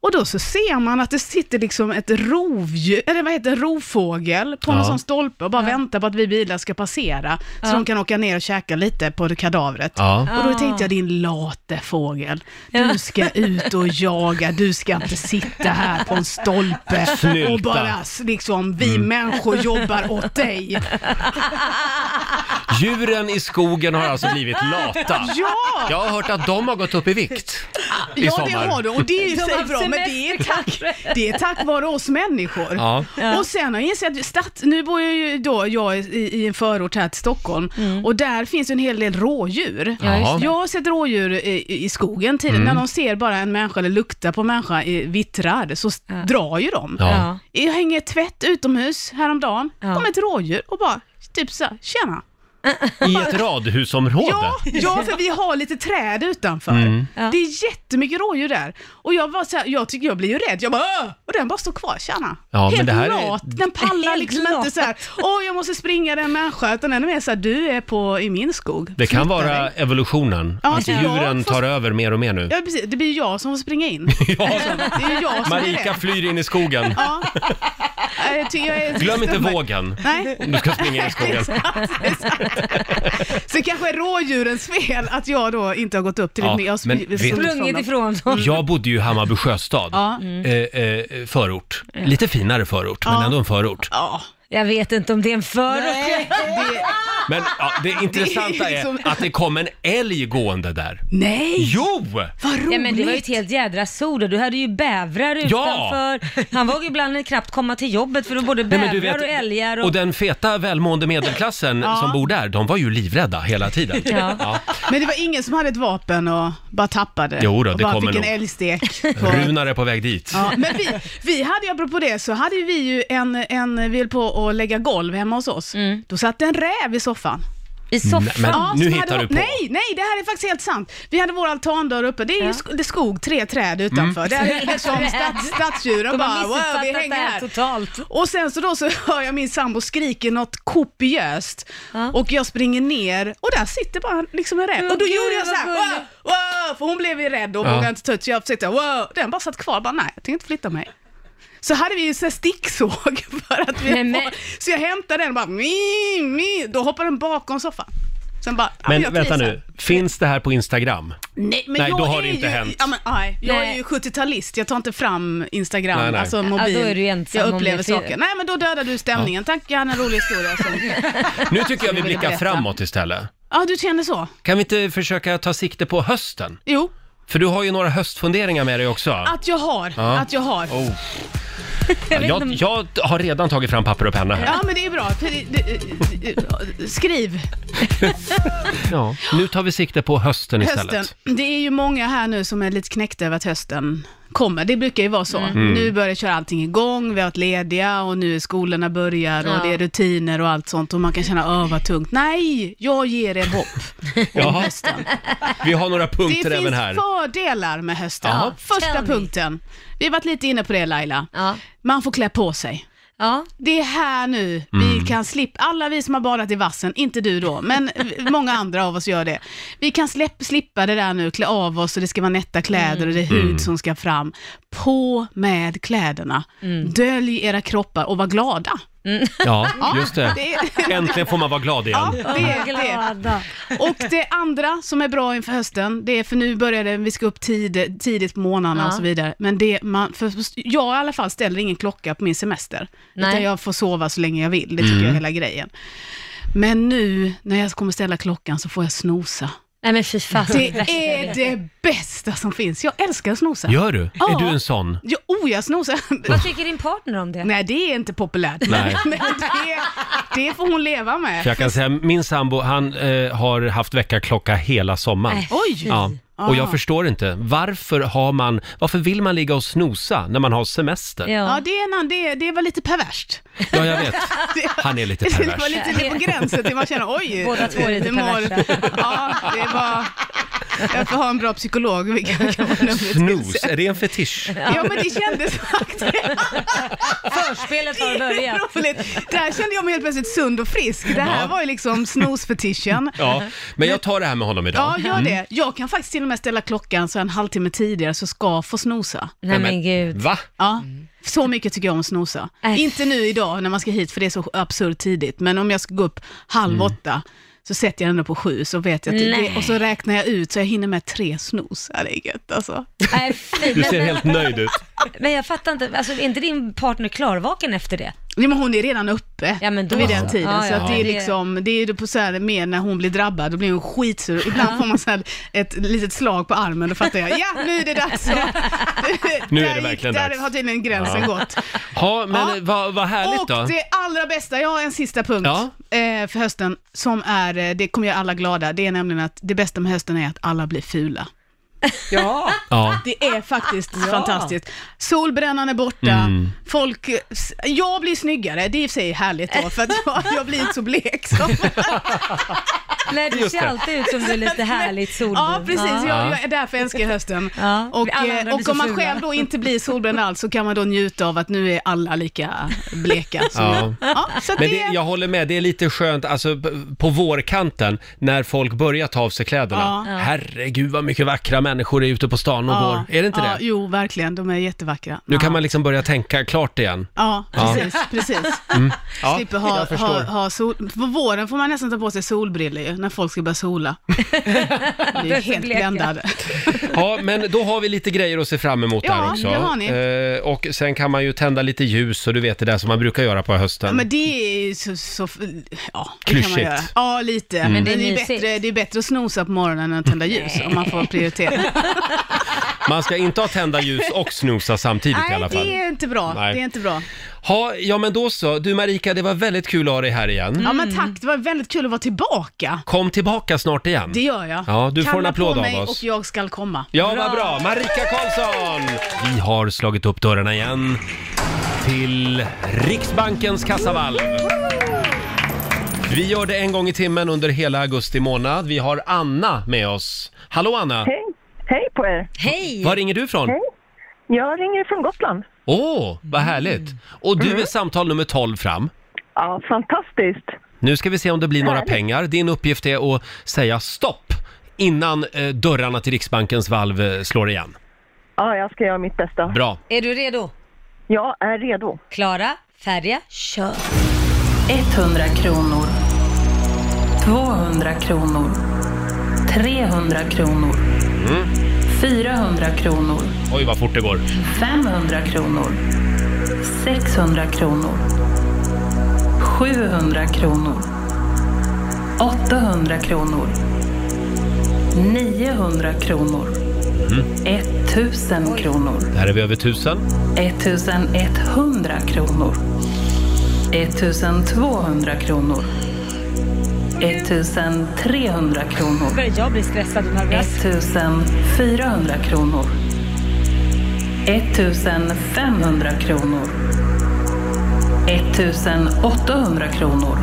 Och då så ser man att det sitter liksom ett rovdjur, eller vad heter det, rovfågel på Ja. någon sån stolpe och bara väntar på att vi bilar ska passera så de kan åka ner och käka lite på det kadavret. Ja. Och då tänkte jag, din late fågel, du ska ut och jaga, du ska inte sitta här på en stolpe Snylta. och bara s- liksom, vi Mm. människor jobbar åt [LAUGHS] dig. Djuren i skogen har alltså blivit lata. [LAUGHS] Ja! Jag har hört att de har gått upp i vikt i Ja, sommar. det har du. Och det är ju De i har sig bra, men semester det är tack, det är tack vare oss människor. Ja. Och sen har jag insett, att stads- nu bor jag ju då, jag i, i en förort här till Stockholm, och där finns ju en hel del rådjur. Ja, just det. Jag har sett rådjur i, i skogen tidigare, Mm. när de ser bara en människa eller luktar på en människa i vittrar, så s- drar ju de. Ja. Jag hänger tvätt utomhus häromdagen, Ja. kom ett rådjur och bara, typ så här, tjena. I ett radhusområde. Ja, ja, för vi har lite träd utanför. Mm. Det är jättemycket rådjur där. Och jag, var så här, jag tycker jag blir ju rädd. Jag bara "Åh!" Och den bara står kvar, tjena. Ja, Helt men det här är- lat. Den pallar Helt liksom lat. inte så här, åh jag måste springa den människan. Utan den är mer så här, du är på, i min skog. Det kan Flytta vara dig. evolutionen. Ja, att det är jag. djuren tar över mer och mer nu. Ja, precis. Det blir ju jag som får springa in. [LAUGHS] Ja. Det är ju jag som är Marika rädd. flyr in i skogen. Ja. Jag tycker jag är- Glöm inte vågen Nej. om du ska springa in i skogen. [LAUGHS] Exakt, exakt. Så kanske är rådjurens fel att jag då inte har gått upp till Ja, det. Jag har sp- men vet- sprungit från Sprungit dem. ifrån dem. Jag bodde ju i Hammarby sjöstad, Ja. eh, eh, förort. Lite finare förort, men ändå en förort. Ja. Jag vet inte om det är en förort. Nej, det... Men ja, det intressanta är liksom- att det kom en älg gående där. Nej! Jo! Vad roligt! Ja men det var ju ett helt jädra sol och du hade ju bävrar utanför. Han vågade ibland knappt komma till jobbet för de både Nej, bävrar men du vet, och älgar och... och den feta välmående medelklassen Ja. som bor där, de var ju livrädda hela tiden. Ja. Men det var ingen som hade ett vapen och bara tappade? Jo då, och det bara kommer fick en nog. [LAUGHS] älgstek? På... Runar är på väg dit. Ja, men vi, vi hade ju, apropå det, så hade ju vi ju en, en vi höll på att lägga golv hemma hos oss. Mm. Då satt en räv i soffan. I soffan. Nej, men- nu som hittar hade, du på. Nej, nej, det här är faktiskt helt sant. Vi hade vår altandörr uppe, det är ju sk- det är skog, tre träd Mm. utanför. Där [LAUGHS] är det liksom stads, stadsdjuren De bara, wow, har vi missuppfattat det hänger här här. totalt. Och sen så då så hör jag min sambo skrika något kopiöst Ja. och jag springer ner och där sitter bara liksom en räv. Åh, Och då gud, gjorde jag så här, vad wow, gulligt. wow, för hon blev ju rädd och Ja. vågade inte ta ut så jag försökte, wow, den bara satt kvar, bara nej, jag tänker inte flytta mig. Så hade vi ju så här sticksåg [LAUGHS] för att vi Nej, men- Så jag hämtade den och bara, mi, mi. då hoppade den bakom soffan. Sen bara, ja, Men jag vänta trivs nu, här. finns det här på Instagram? Nej, men Nej, jag då har är det inte ju, hänt. Ja, men, nej, jag är Nej. ju 70-talist, jag tar inte fram Instagram, Nej, nej. alltså då mobil. är du ensam jag om upplever det fel. saker. Nej, men då dödar du stämningen. Tack, jag hade en rolig historia. [LAUGHS] Som... Nu tycker jag vi ville blickar berätta. framåt istället. Ja, du känner så? Kan vi inte försöka ta sikte på hösten? Jo, För du har ju några höstfunderingar med dig också. att jag har. Ja. Att jag har. Oh. Jag, jag har redan tagit fram papper och penna här. Ja, men det är bra. För det- det- det- Skriv Ja. Nu tar vi sikte på hösten [LAUGHS] istället. hösten. Det är ju många här nu som är lite knäckta över att hösten kommer. Det brukar ju vara så. Mm. Nu börjar köra allting igång, vi har varit lediga och nu är skolorna börjar och Ja. det är rutiner och allt sånt och man kan känna, öh vad tungt. Nej, jag ger er [LAUGHS] hopp om Jaha. hösten. Vi har några Det [LAUGHS] punkter finns även här. fördelar med hösten. Jaha. Första Tell me. punkten, vi har varit lite inne på det Laila. Ja. Man får klä på sig. Ja. Det är här nu vi kan slippa, alla vi som har badat i vassen, inte du då, men många andra av oss gör det. Vi kan släpp, slippa det där nu, klä av oss och det ska vara nätta kläder och det är hud som ska fram. På med kläderna, dölj era kroppar och var glada. Ja, just det. det- Äntligen får man vara glad igen. [LAUGHS] Ja, det är det. Och det andra som är bra inför hösten, det är för nu börjar det, vi ska upp tid, tidigt på morgnarna Ja. och så vidare. Men det man, för jag i alla fall ställer ingen klocka på min semester. Nej. Utan jag får sova så länge jag vill, det tycker Mm. jag är hela grejen. Men nu när jag kommer ställa klockan så får jag snosa. [LAUGHS] Nej men fy fasen, Det värsta jag är vet. det bästa som finns. Jag älskar att snosa. Gör du? Ja. Är du en sån? Ja, oh, jag snosar. Vad tycker din partner om det? [LAUGHS] Nej, det är inte populärt. Nej. [LAUGHS] Men det, det får hon leva med. För jag kan säga, min sambo, han eh, har haft väckarklocka hela sommaren. Äh, Oj! Ja. Och jag Ah. förstår inte, varför har man, varför vill man ligga och snosa när man har semester? Ja, det, är en, annan- det, det var lite [LAUGHS] perverst. Ja, jag vet. Han är lite [LAUGHS] pervers. Det var lite det på gränsen till man känner oj. [LAUGHS] Båda två är lite det mår- [LAUGHS] Ja, det var... Jag får ha en bra psykolog. vilket kan vara numret. Snus, är det en fetisch? Ja, men det kändes faktiskt... [LAUGHS] Förspelet har [LAUGHS] börjat. Roligt. Där kände jag mig helt plötsligt sund och frisk. Det här Ja. var ju liksom snosfetischen. Ja, men jag tar det här med honom idag. Ja, gör Mm. det. Jag kan faktiskt till och med ställa klockan så en halvtimme tidigare så ska få snosa. Nej men gud. Va? Ja, Mm. så mycket tycker jag om att snosa. Äh. Inte nu idag när man ska hit för det är så absurt tidigt, men om jag ska gå upp halv åtta så sätter jag den på sju så vet jag att Mm. Nej. det, och så räknar jag ut så jag hinner med tre snos. Ja, det är gött alltså. Nej, fy, Du ser men, helt nöjd ut. men jag fattar inte, alltså, är inte din partner klarvaken efter det? Nej, men hon är redan uppe Ja, men då vid den så. tiden, Ja, så ja, att det är det- liksom, det är ju på så här mer när hon blir drabbad, då blir hon skitsur. Ibland får man så här ett litet slag på armen, då fattar jag, ja nu är det dags. [LAUGHS] Så, Nu är där det verkligen gick, dags. Där har tydligen gränsen Ja. gått. Ja, men Ja. eh, vad vad härligt och då. det allra bästa, jag har en sista punkt Ja. eh, för hösten som är, eh, det kommer göra alla glada, det är nämligen att det bästa med hösten är att alla blir fula. Ja, Ja. Det är faktiskt fantastiskt. Solbrännan är borta, Mm. folk, s- jag blir snyggare, det är i och för sig härligt då för att jag, jag blir inte så blek. Som, Nej, du Just ser det. alltid ut som du [LAUGHS] är lite härligt solbrun. [LAUGHS] ja precis, Ja. jag, jag är därför älskar jag hösten. Ja. Och, Alla andra eh, blir och så om man fula. själv då inte blir solbränd alls så kan man då njuta av att nu är alla lika bleka. som jag. Ja. Ja, så att Men det- det, jag håller med, det är lite skönt alltså, p- på vårkanten när folk börjar ta av sig kläderna. Ja. Herregud vad mycket vackra människor är ute på stan och går. Är det inte ja, det? Jo, verkligen. De är jättevackra. Nu ja. kan man liksom börja tänka klart igen. Ja, Ja. Mm. precis. precis. Ja, Slipper ha, jag förstår. ha, ha sol... På våren får man nästan ta på sig solbriller ju, när folk ska börja [LAUGHS] sola. Vi är är så helt bleka. bländade. Ja, men då har vi lite grejer att se fram emot Ja, där också. det har Eh, och sen kan man ju tända lite ljus och du vet det där som man brukar göra på hösten. Men det är ju så... så ja, det Klyschigt. Mm. Kan man göra. Ja, lite. Men det är, ju mysigt. bättre, det är bättre att snosa på morgonen än att tända ljus, om man får [LAUGHS] prioritera. Man ska inte ha tända ljus och snosa samtidigt i Nej, alla fall. det är inte bra. Nej. Det är inte bra. Ha, ja, men då så. Du Marika, det var väldigt kul att ha dig här igen. Ja, men tack. Det var väldigt kul att vara tillbaka. Kom tillbaka snart igen. Det gör jag. Ja, du får en Kalla applåd på av mig oss. och jag ska komma. Ja, vad bra! Marika Karlsson! Vi har slagit upp dörrarna igen till Riksbankens kassavalv. Vi gör det en gång i timmen under hela augusti månad. Vi har Anna med oss. Hallå Anna! Hej! Hej på er! Hej! Var ringer du ifrån? Jag ringer från Gotland. Åh, vad härligt! Och Mm. du är samtal nummer 12 fram. Ja, fantastiskt. Nu ska vi se om det blir några pengar. Din uppgift är att säga stopp innan eh, dörrarna till Riksbankens valv eh, slår igen. Ja, jag ska göra mitt bästa. Bra. Är du redo? Jag är redo. Klara, färdiga, kör! 100 kronor. 200 kronor. 300 kronor. 400 kronor. Oj, vad fort det går. 500 kronor. 600 kronor. 700 kronor. 800 kronor. 900 kronor. 1000 kronor. Där är vi över tusen. 1100 kronor. 1200 kronor. 1300 kronor. Börjar jag bli stressad och nervös. 1400 kronor. 1500 kronor. 1800 kronor.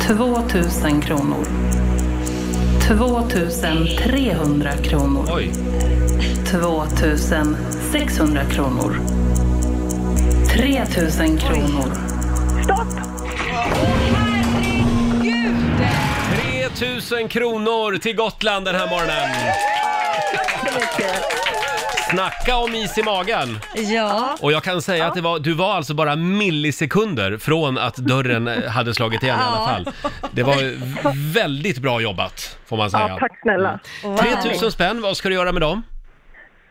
2000 kronor. 2300 kronor. Oj. 2600 kronor. 3000 kronor. 3000 kronor till Gotland den här morgonen. Snacka om is i magen! Ja. Och jag kan säga att det var, du var alltså bara millisekunder från att dörren eh, hade slagit igen i alla Ja. fall. Det var ju väldigt bra jobbat, får man säga. Ja, tack snälla. 3000 spänn, vad ska du göra med dem?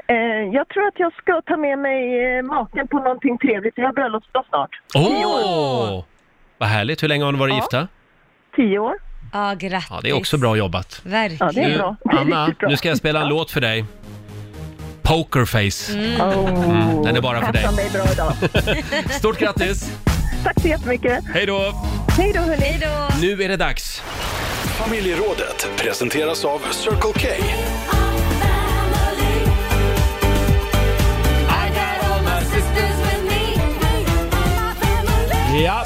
Eh, jag tror att jag ska ta med mig eh, maken på någonting trevligt. Jag har bröllopsdag snart. Åh! Vad härligt, hur länge har ni varit gifta? Tio år. Ja, grattis. Ja, det är också bra jobbat. Verkligen. Ja, det är Nu, bra. Det är Anna, riktigt bra. nu ska jag spela en låt för dig. Pokerface. Mm. Mm, den är bara för dig. Passar mig bra idag. [LAUGHS] Stort grattis! Tack så jättemycket. Hej då! Hej då, hörni. Hej då. Nu är det dags. Familjerådet presenteras av Circle K. Ja,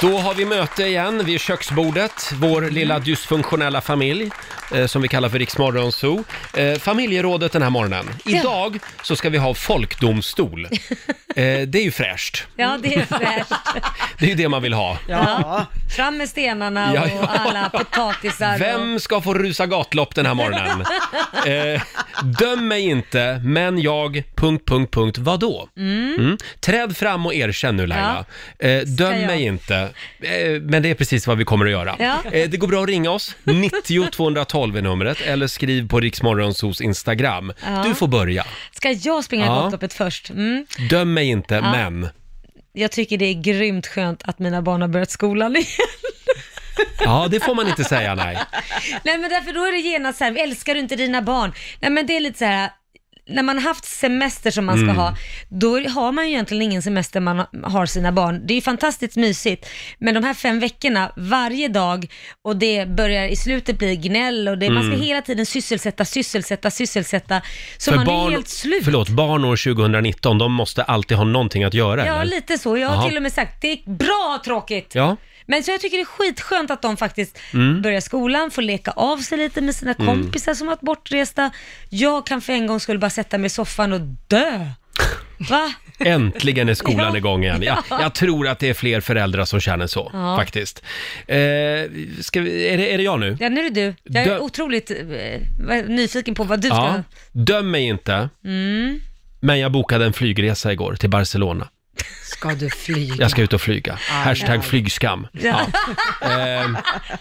då har vi möte igen vid köksbordet, vår lilla dysfunktionella familj eh, som vi kallar för Riksmorgon Zoo. Eh, familjerådet den här morgonen. Idag så ska vi ha [LAUGHS] folkdomstol. Eh, det är ju fräscht. Ja, det är fräscht. Det är ju det man vill ha. Ja. Fram med stenarna Ja, ja. och alla potatisar. och- Vem ska få rusa gatlopp den här [LAUGHS] morgonen? Eh, döm mig inte, men jag... Punkt, punkt, punkt. Vadå? Mm. Mm. Träd fram och erkänn nu Laila. Eh, döm jag. mig inte, eh, men det är precis vad vi kommer att göra. Ja. Eh, det går bra att ringa oss, 90 212 är numret, eller skriv på Riksmorgonsos Instagram. Ja. Du får börja. Ska jag springa Ja. Gatloppet först? Mm. Döm mig inte, Ja. men... Jag tycker det är grymt skönt att mina barn har börjat skolan igen. Ja, det får man inte säga nej. Nej men därför då är det genast så här, älskar du inte dina barn? Nej men det är lite så här, när man har haft semester som man ska Mm. ha, då har man ju egentligen ingen semester man ha- har sina barn. Det är ju fantastiskt mysigt, men de här fem veckorna varje dag och det börjar i slutet bli gnäll och det, man ska Mm. hela tiden sysselsätta, sysselsätta, sysselsätta. Så För man barn, är helt slut. Förlåt, barn år 2019, de måste alltid ha någonting att göra. Ja, eller? lite så. Jag har Jaha. till och med sagt, det är bra tråkigt. Ja. Men så jag tycker det är skitskönt att de faktiskt Mm. börjar skolan, får leka av sig lite med sina Mm. kompisar som har varit bortresta. Jag kan för en gång skulle bara sätta mig i soffan och [LAUGHS] dö. Va? Äntligen är skolan [LAUGHS] Ja. igång igen. Jag, Ja. jag tror att det är fler föräldrar som känner så, Ja. faktiskt. Eh, ska vi, är, det, är det jag nu? Ja, nu är det du. Jag är Dö- otroligt eh, vad- nyfiken på vad du Ja. ska... Döm mig inte, Mm. men jag bokade en flygresa igår till Barcelona. Ska du flyga? Jag ska ut och flyga. Hashtag flygskam. Ja. Eh, ja.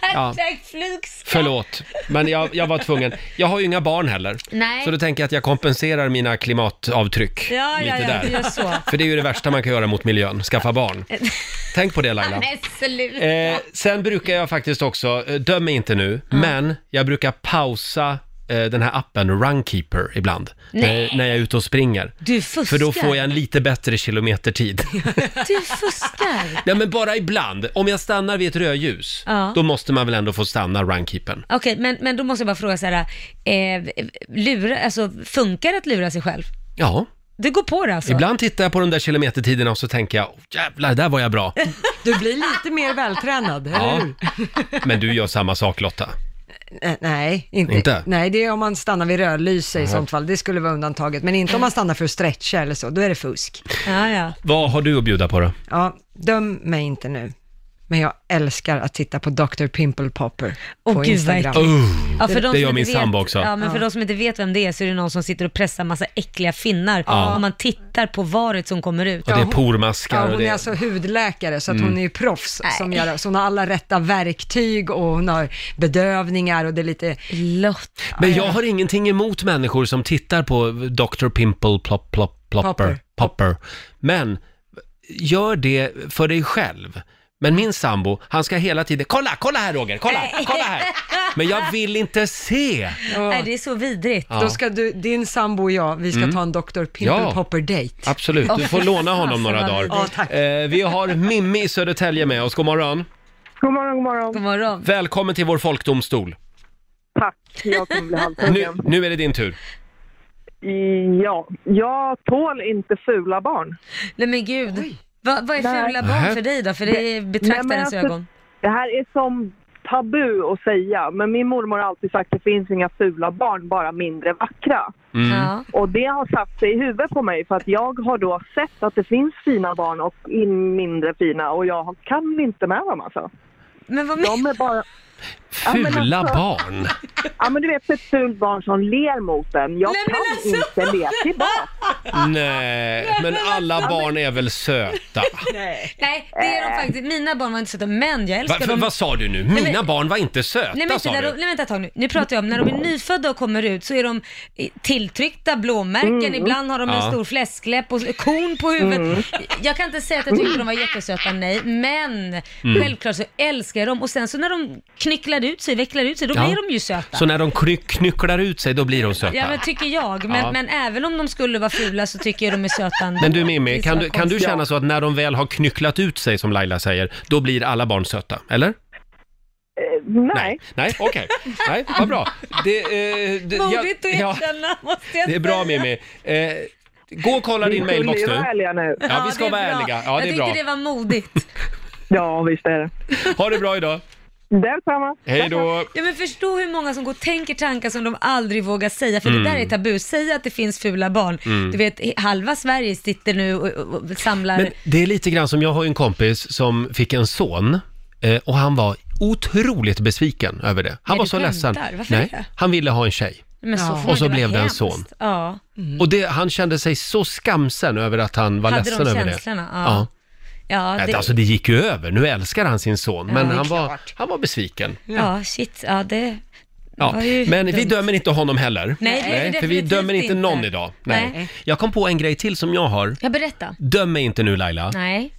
Hashtag flygs. Förlåt, men jag, jag var tvungen. Jag har ju inga barn heller. Nej. Så då tänker jag att jag kompenserar mina klimatavtryck Ja, lite ja, ja, där. du gör så. För det är ju det värsta man kan göra mot miljön, skaffa [LAUGHS] barn. Tänk på det Laila. Nej, sluta. Eh, sen brukar jag faktiskt också, eh, döm mig inte nu, men jag brukar pausa eh, den här appen Runkeeper ibland. Eh, Nej. När, när jag är ute och springer. Du fuskar. För då får jag en lite bättre [LAUGHS] kilometertid. Du fuskar. Nej men bara ibland. Om jag stannar vid ett rödljus, Ja. då måste man väl ändå få stanna Runkeepern. Okej, men, men då måste jag bara fråga så här, eh, lura, alltså funkar det att lura sig själv? Ja. Du går på det alltså? Ibland tittar jag på de där kilometertiderna och så tänker jag, "Åh, jävlar, där var jag bra. Du blir lite mer vältränad, eller Ja. hur? Men du gör samma sak Lotta. Eh, Nej, inte. Inte? Nej, det är om man stannar vid rödlyse i Nej. sånt fall. Det skulle vara undantaget. Men inte om man stannar för att stretcha eller så. Då är det fusk. Ja, ja. Vad har du att bjuda på då? Ja, döm mig inte nu. Men jag älskar att titta på Dr. Pimple Popper Åh, på gud, Instagram. verkligen. Oh. Ja, för de som Det gör inte min vet, sambo också. Ja, men för Ja. de som inte vet vem det är så är det någon som sitter och pressar massa äckliga finnar Ja. och man tittar på varet som kommer ut. Och det är pormaskar Ja, och hon det... är alltså hudläkare, så att Mm. hon är ju proffs. Som gör, så hon har alla rätta verktyg och hon har bedövningar och det är lite... Lott. Men jag har ingenting emot människor som tittar på Dr. Pimple plop, plop, plopper, popper. Popper. Men gör det för dig själv. Men min sambo, han ska hela tiden, kolla, kolla här Roger, kolla, kolla [LAUGHS] här. Men jag vill inte se. Nej, det är så vidrigt. Ja. Då ska du, din sambo och jag, vi ska Mm. ta en Dr. Pimple Ja. Popper-date. Absolut, du får Åh, låna honom fasen, några vad dagar. vidrigt. Ja, tack. Eh, vi har Mimmi i Södertälje med oss, god morgon. God morgon, god morgon. God morgon. Välkommen till vår folkdomstol. Tack. Jag kommer bli Nu, halshuggen. nu är det din tur. Ja, jag tål inte fula barn. Nej men gud. Va, vad är Nej. fula Nähä. barn för dig då? För det är Nej, men betraktarens alltså, ögon. Det här är som tabu att säga, men min mormor har alltid sagt att det finns inga fula barn, bara mindre vackra. Mm. Ja. Och det har satt sig i huvudet på mig för att jag har då sett att det finns fina barn och in mindre fina och jag kan inte med dem alltså. Men vad de är bara, Ja, men Fula alltså- barn. Ja, men du vet ett fult barn som ler mot en. Jag Nej, men alltså- kan inte le tillbaka. [LAUGHS] Nej, men alla alltså, barn är väl söta? Nej. det Äh. är de faktiskt. Mina barn var inte söta, men [LAUGHS] jag Va, älskar för, dem. vad sa du nu? Nej, men- Mina barn var inte Nej, men söta inte sa när de, du? nej vänta ett tag nu. Nu pratar jag om när de är nyfödda och kommer ut så är de eh, tilltryckta blåmärken, Mm. ibland har de en Ja. stor fläskläpp och korn på huvudet. Mm. Jag kan inte säga att jag tyckte de var jättesöta, nej, men Mm. självklart så älskar jag dem och sen så när de knycklar ut sig, vecklar ut sig, då Ja. blir de ju söta. Så när de kny, knycklar ut sig, då blir de söta? Ja men tycker jag, men, Ja. men även om de skulle vara fula så tycker jag de är söta ändå. Men du Det är Mimmi, så kan du, kan du konstigt. känna så att när de väl har knycklat ut sig, som Laila säger, då blir alla barn söta, eller? Eh, Nej. Nej, okej. Nej, vad bra. Det, eh, det, jag- Modigt att ja, erkänna, måste jag det är bra säga. Mimmi. Eh, gå och kolla Vi din mailbox skulle nu. ju vara ärliga nu. Ja, vi ska det är vara bra. ärliga. Ja, det är jag bra. tyckte det var modigt. Ja, visst är det. Ha det bra idag. Detsamma. Hej då. Ja, men förstå hur många som går och tänker tankar som de aldrig vågar säga, för det Mm. där är tabu. Säga att det finns fula barn. Mm. Du vet, halva Sverige sitter nu och, och, och samlar... Men det är lite grann som, jag har ju en kompis som fick en son eh, och han var otroligt besviken över det. Han Nej, var du så ledsen. skämtar. Varför Nej, det? han ville ha en tjej. Men så får och så det blev vara det en hemskt. son. Ja. Och det, han kände sig så skamsen över att han var Mm. Hade de ledsen över det. känslorna? Ja. Ja, Det... Alltså det gick ju över, nu älskar han sin son, Ja, men det är han var, han var besviken. ja, shit. Ja, det... Ja. var ju Men vi dumt. dömer inte honom heller. Nej, det gör vi för vi definitivt dömer inte någon inte. idag. Nej. Nej. Jag kom på en grej till som jag har. Jag berätta. Döm mig inte nu Laila, Nej.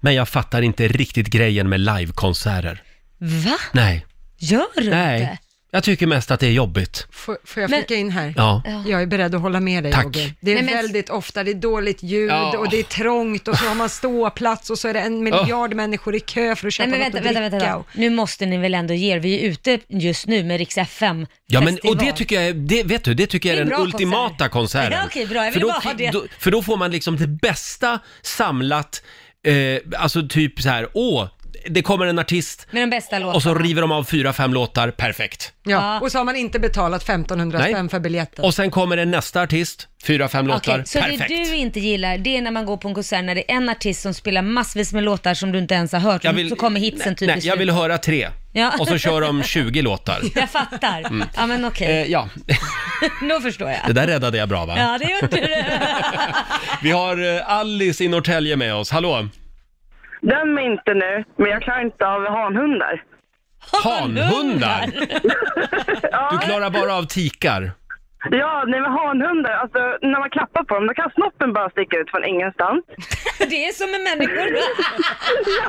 men jag fattar inte riktigt grejen med livekonserter. Va? Nej. Gör du Nej. inte? Jag tycker mest att det är jobbigt. Får, får jag flika in här? Ja. Jag är beredd att hålla med dig Tack. Roger. Det är Nej, men- väldigt ofta, det är dåligt ljud Ja. och det är trångt och så har man ståplats och så är det en miljard människor i kö för att köpa Nej, men något vänta, att vänta, dricka. vänta, vänta. Nu måste ni väl ändå ge er. Vi är ute just nu med Rix FM Ja, men, och det tycker jag, är- det, vet du, det tycker jag Det är är den bra konsert. ultimata konserten. Ja, okej, bra. Jag för, ville då, bara ha det. Då, för då får man liksom det bästa samlat, eh, alltså typ så här, åh, det kommer en artist Med de bästa låtarna. och så river de av fyra, fem låtar, perfekt. Ja. Och så har man inte betalat 1500 Nej. spänn för biljetten. Och sen kommer det nästa artist, fyra, fem låtar, Okej, så perfekt. det du inte gillar, det är när man går på en konsert när det är en artist som spelar massvis med låtar som du inte ens har hört, Jag och vill- så kommer hitsen typ Nej, i jag vill slutet. höra tre. Ja. Och så kör [LAUGHS] de 20 låtar. Jag fattar. Mm. Ja, men okej. Eh, ja, [LAUGHS] Nu förstår jag. det där räddade jag bra va? Ja, det gjorde du. Vi har eh, Alice i Norrtälje med oss, hallå! Döm mig inte nu, men jag klarar inte av hanhundar. [LAUGHS] Hanhundar! [LAUGHS] Du klarar bara av tikar. Ja, nej men hanhundar, alltså när man klappar på dem då kan snoppen bara sticka ut från ingenstans. Det är som med människor.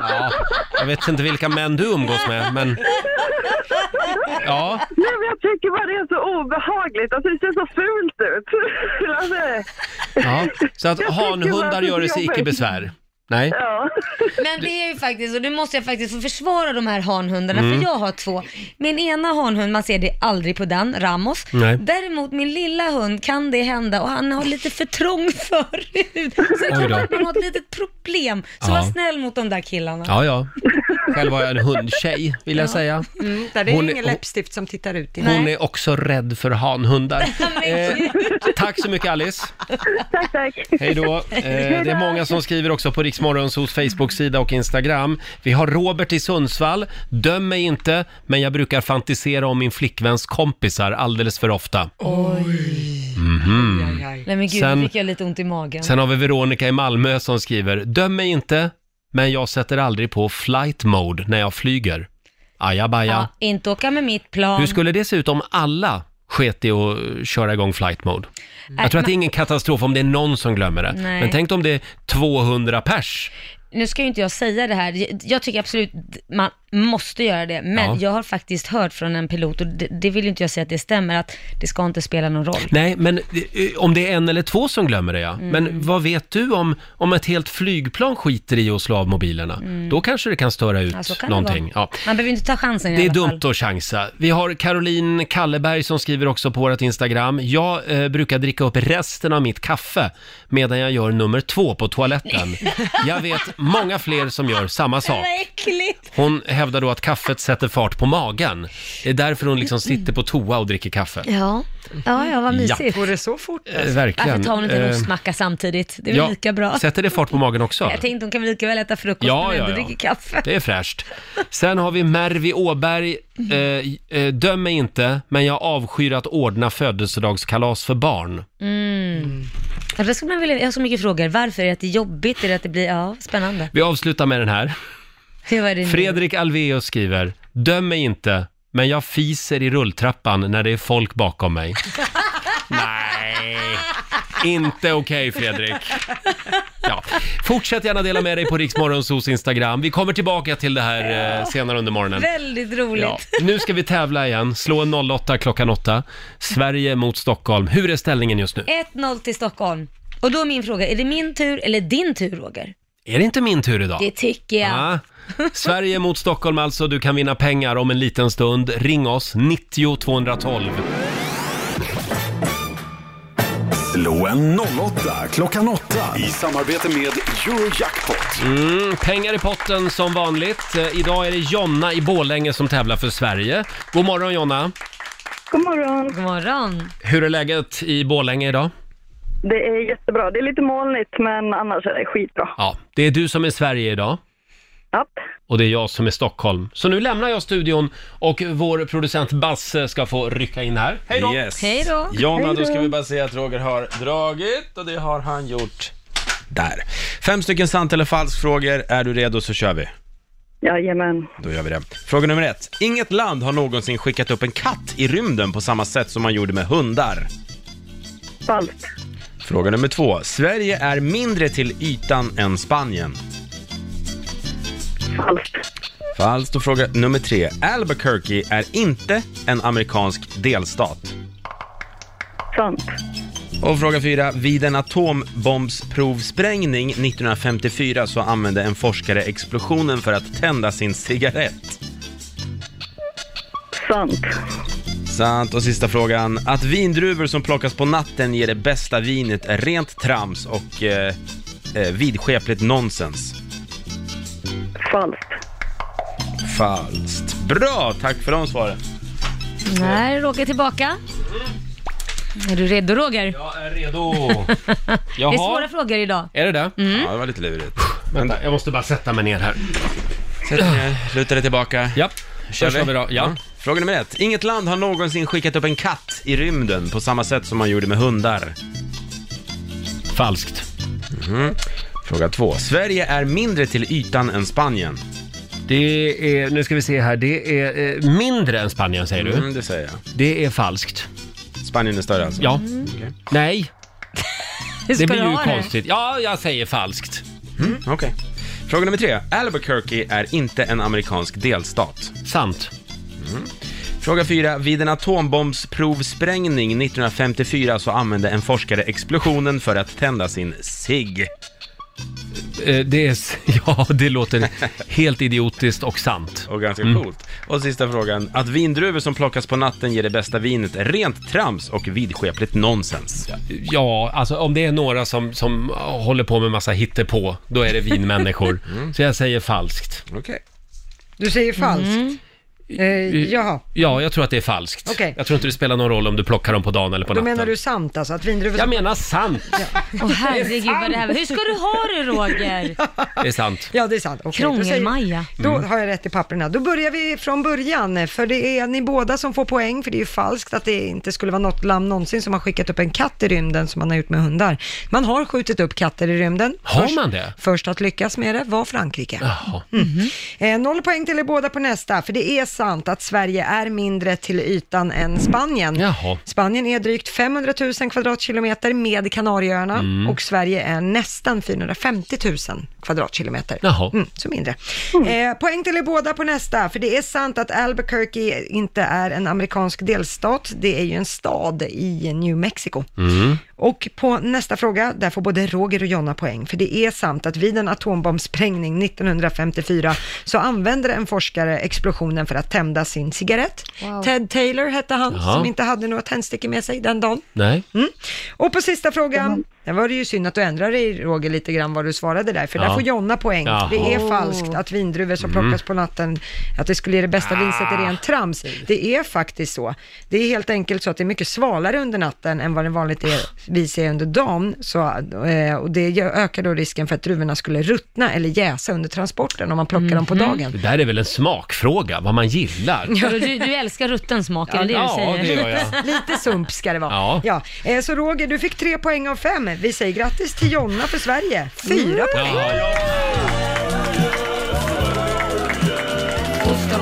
Ja, jag vet inte vilka män du umgås [LAUGHS] med, men ja. Nej men jag tycker bara det är så obehagligt, alltså det ser så fult ut. Alltså, ja. Så att Jag tycker bara hanhundar att det gör är sig icke jobbigt. besvär. Nej. Men det är ju faktiskt, och nu måste jag faktiskt få försvara de här hanhundarna, Mm. för jag har två. Min ena hanhund, man ser det aldrig på den, Ramos. Nej. Däremot min lilla hund kan det hända och han har lite för trång [LAUGHS] förut. Så det Oj kan då. vara något litet problem. Så Ja. var snäll mot de där killarna. Ja, ja. Själv var jag en hundtjej, vill jag säga. Mm, där det är Hon är- ingen läppstift som tittar ut. i. Hon är också rädd [LAUGHS] för hanhundar. Eh, tack så mycket Alice. tack, [LAUGHS] tack. [LAUGHS] Hej då. Eh, det är många som skriver också på Riksmorgonsos Facebook-sida och Instagram. Vi har Robert i Sundsvall. Döm mig inte, men jag brukar fantisera om min flickväns kompisar alldeles för ofta. Oj. Mhm. Nej men gud, Sen- nu fick jag lite ont i magen. Sen har vi Veronica i Malmö som skriver, döm mig inte, men jag sätter aldrig på flight mode när jag flyger. Ajabaja. ja, inte åka med mitt plan. Hur skulle det se ut om alla sket i att köra igång flight mode? Nej, Jag tror att det är man- ingen katastrof om det är någon som glömmer det. Nej. Men tänk om det är 200 pers. nu ska ju inte jag säga det här, Jag- jag tycker absolut man måste göra det, men Ja. jag har faktiskt hört från en pilot, och det, det vill ju inte jag säga att det stämmer, att det ska inte spela någon roll. Nej, men eh, om det är en eller två som glömmer det ja. Mm. Men vad vet du om, om ett helt flygplan skiter i att slå av mobilerna? Mm. Då kanske det kan störa ut Ja, så kan det någonting. Ja. Man behöver ju inte ta chansen i Det är alla fall. dumt att chansa. Vi har Caroline Kalleberg som skriver också på vårt Instagram. Jag eh, brukar dricka upp resten av mitt kaffe medan jag gör nummer [LAUGHS] två på toaletten. Jag vet många fler som gör samma sak. Vad äckligt! Hon hävdar då att kaffet sätter fart på magen. Det är därför hon liksom sitter på toa och dricker kaffe. Ja, ja, ja vad Ja. mysigt. Går det så fort? Eh, verkligen. Varför tar hon inte en Eh, ostmacka samtidigt? Det är väl lika bra. Sätter det fart på magen också? Jag tänkte hon kan väl lika väl äta frukost Ja, när ja, hon ändå ja. dricker kaffe. Det är fräscht. Sen har vi Mervi Åberg. Mhm. Eh, eh, döm mig inte, men jag avskyr att ordna födelsedagskalas för barn. Mm. Ja, då skulle man vilja, jag har så mycket frågor. Varför? Är det att det är jobbigt? Är det att det blir, ja, spännande. Vi avslutar med den här. Mm. Det var det nu. Fredrik Alveus skriver, döm mig inte, men jag fiser i rulltrappan när det är folk bakom [LAUGHS] mig. Nej, inte okej Fredrik. Ja. Fortsätt gärna dela med dig på Riksmorgonsos Instagram. Vi kommer tillbaka till det här eh, senare under morgonen. Väldigt roligt. Ja. Nu ska vi tävla igen. Slå en 08 klockan 8. Sverige mot Stockholm. Hur är ställningen just nu? 1-0 till Stockholm. Och då är min fråga, är det min tur eller din tur Roger? Är det inte min tur idag? Det tycker jag. Ja. Sverige mot Stockholm alltså. Du kan vinna pengar om en liten stund. Ring oss, 90 212. Slå en 08 klockan 8 i samarbete med Eurojackpot. Mm, pengar i potten som vanligt. Eh, Idag är det Jonna i Borlänge som tävlar för Sverige. God morgon Jonna! God morgon. God morgon. Hur är läget i Borlänge idag? Det är jättebra. Det är lite molnigt, men annars är det skitbra. Ja, det är du som är Sverige idag. Ja. Och det är jag som är Stockholm. Så nu lämnar jag studion och vår producent Basse ska få rycka in här. Hej då! Yes. Hej då. Jonna, Hej då ska då. vi bara säga att Roger har dragit och det har han gjort där. Fem stycken sant eller falsk-frågor. Är du redo så kör vi. Jajamän. Då gör vi det. Fråga nummer ett. Inget land har någonsin skickat upp en katt i rymden på samma sätt som man gjorde med hundar. Falskt. Fråga nummer två. Sverige är mindre till ytan än Spanien. Falskt. Falskt. Och fråga nummer tre. Albuquerque är inte en amerikansk delstat. Sant. Och fråga fyra. Vid en atombombsprovsprängning 1954 så använde en forskare explosionen för att tända sin cigarett. Sant. Sant. Och sista frågan. Att vindruvor som plockas på natten ger det bästa vinet är rent trams och eh, eh, vidskepligt nonsens. Falskt. Falskt. Bra, tack för de svaren. Här är Roger tillbaka. Är du redo Roger? Jag är redo. Det är Jaha. svåra frågor idag. Är det det? Mm. Ja, det var lite lurigt. Vänta, jag måste bara sätta mig ner här. Sätt dig ner, luta dig tillbaka. Ja, kör då kör vi då. Ja. Fråga nummer ett. Inget land har någonsin skickat upp en katt i rymden på samma sätt som man gjorde med hundar. Falskt. Mhm. Fråga två. Sverige är mindre till ytan än Spanien. Det är, nu ska vi se här, det är eh, mindre än Spanien säger du. Mm, det säger jag. Det är falskt. Spanien är större alltså? Ja. Nej. Hur ska det du blir ju ha det? konstigt. Ja, jag säger falskt. Mm, Okej. Fråga nummer tre. Albuquerque är inte en amerikansk delstat. Sant. Mm. Fråga fyra. Vid en atombombsprovsprängning 1954 så använde en forskare explosionen för att tända sin cigg. Eh, Det är, s- [LAUGHS] ja, det låter helt idiotiskt och sant. Och ganska Mm. coolt. Och sista frågan. Att vindruvor som plockas på natten ger det bästa vinet är rent trams och vidskepligt nonsens. Ja, alltså om det är några som, som håller på med massa hittepå, då är det vinmänniskor. Så jag säger falskt. Okej. Du Mm. säger falskt. Eh, jaha, Ja, jag tror att det är falskt. Okej. Jag tror inte det spelar någon roll om du plockar dem på dagen eller på då natten. menar du sant alltså? Att vindruvor... Jag menar sant! Åh herregud vad det här var. Hur ska du ha det [LAUGHS] Roger? Det är sant. Ja, det är sant. Okej, då säger- Krångelmaja. Då Mm. har jag rätt i papperna. Då börjar vi från början, för det är ni båda som får poäng, för det är ju falskt att det inte skulle vara något lamm någonsin som har skickat upp en katt i rymden som man har gjort med hundar. Man har skjutit upp katter i rymden. Har Först- man det? Ah. Först att lyckas med det var Frankrike. Jaha. Mm. Eh, noll poäng till er båda på nästa, för det är sant att Sverige är mindre till ytan än Spanien. Jaha. Spanien är drygt 500 000 kvadratkilometer med Kanarieöarna Mm. och Sverige är nästan 450 000 kvadratkilometer. Jaha. Mm, så mindre. Eh, poäng till er båda på nästa, för det är sant att Albuquerque inte är en amerikansk delstat, det är ju en stad i New Mexico. Mm. Och på nästa fråga, där får både Roger och Jonna poäng, för det är sant att vid en atombombsprängning 1954 så använde en forskare explosionen för att tända sin cigarett. Ted Taylor hette han, Jaha. som inte hade några tändstickor med sig den dagen. Nej. Och på sista frågan, Där var det ju synd att du ändrade dig Roger lite grann vad du svarade där, för Ja. där får Jonna poäng. Jaha. Det är Oh. falskt att vindruvor som Mm. Ah. plockas på natten, att det skulle ge det bästa vinset är rent trams. Det är faktiskt så. Det är helt enkelt så att det är mycket svalare under natten än vad det vanligtvis är under dagen. Så, eh, och det gör- ökar då risken för att druvorna skulle ruttna eller jäsa under transporten om man plockar dem på dagen. Det där är väl en smakfråga, vad man gillar. Du, du älskar rutten smak, är det det du Ja, säger? det gör jag. Lite sump ska det vara. Ja. Ja, eh, så Roger, du fick tre poäng av fem. Vi säger grattis till Jonna för Sverige. Fyra poäng.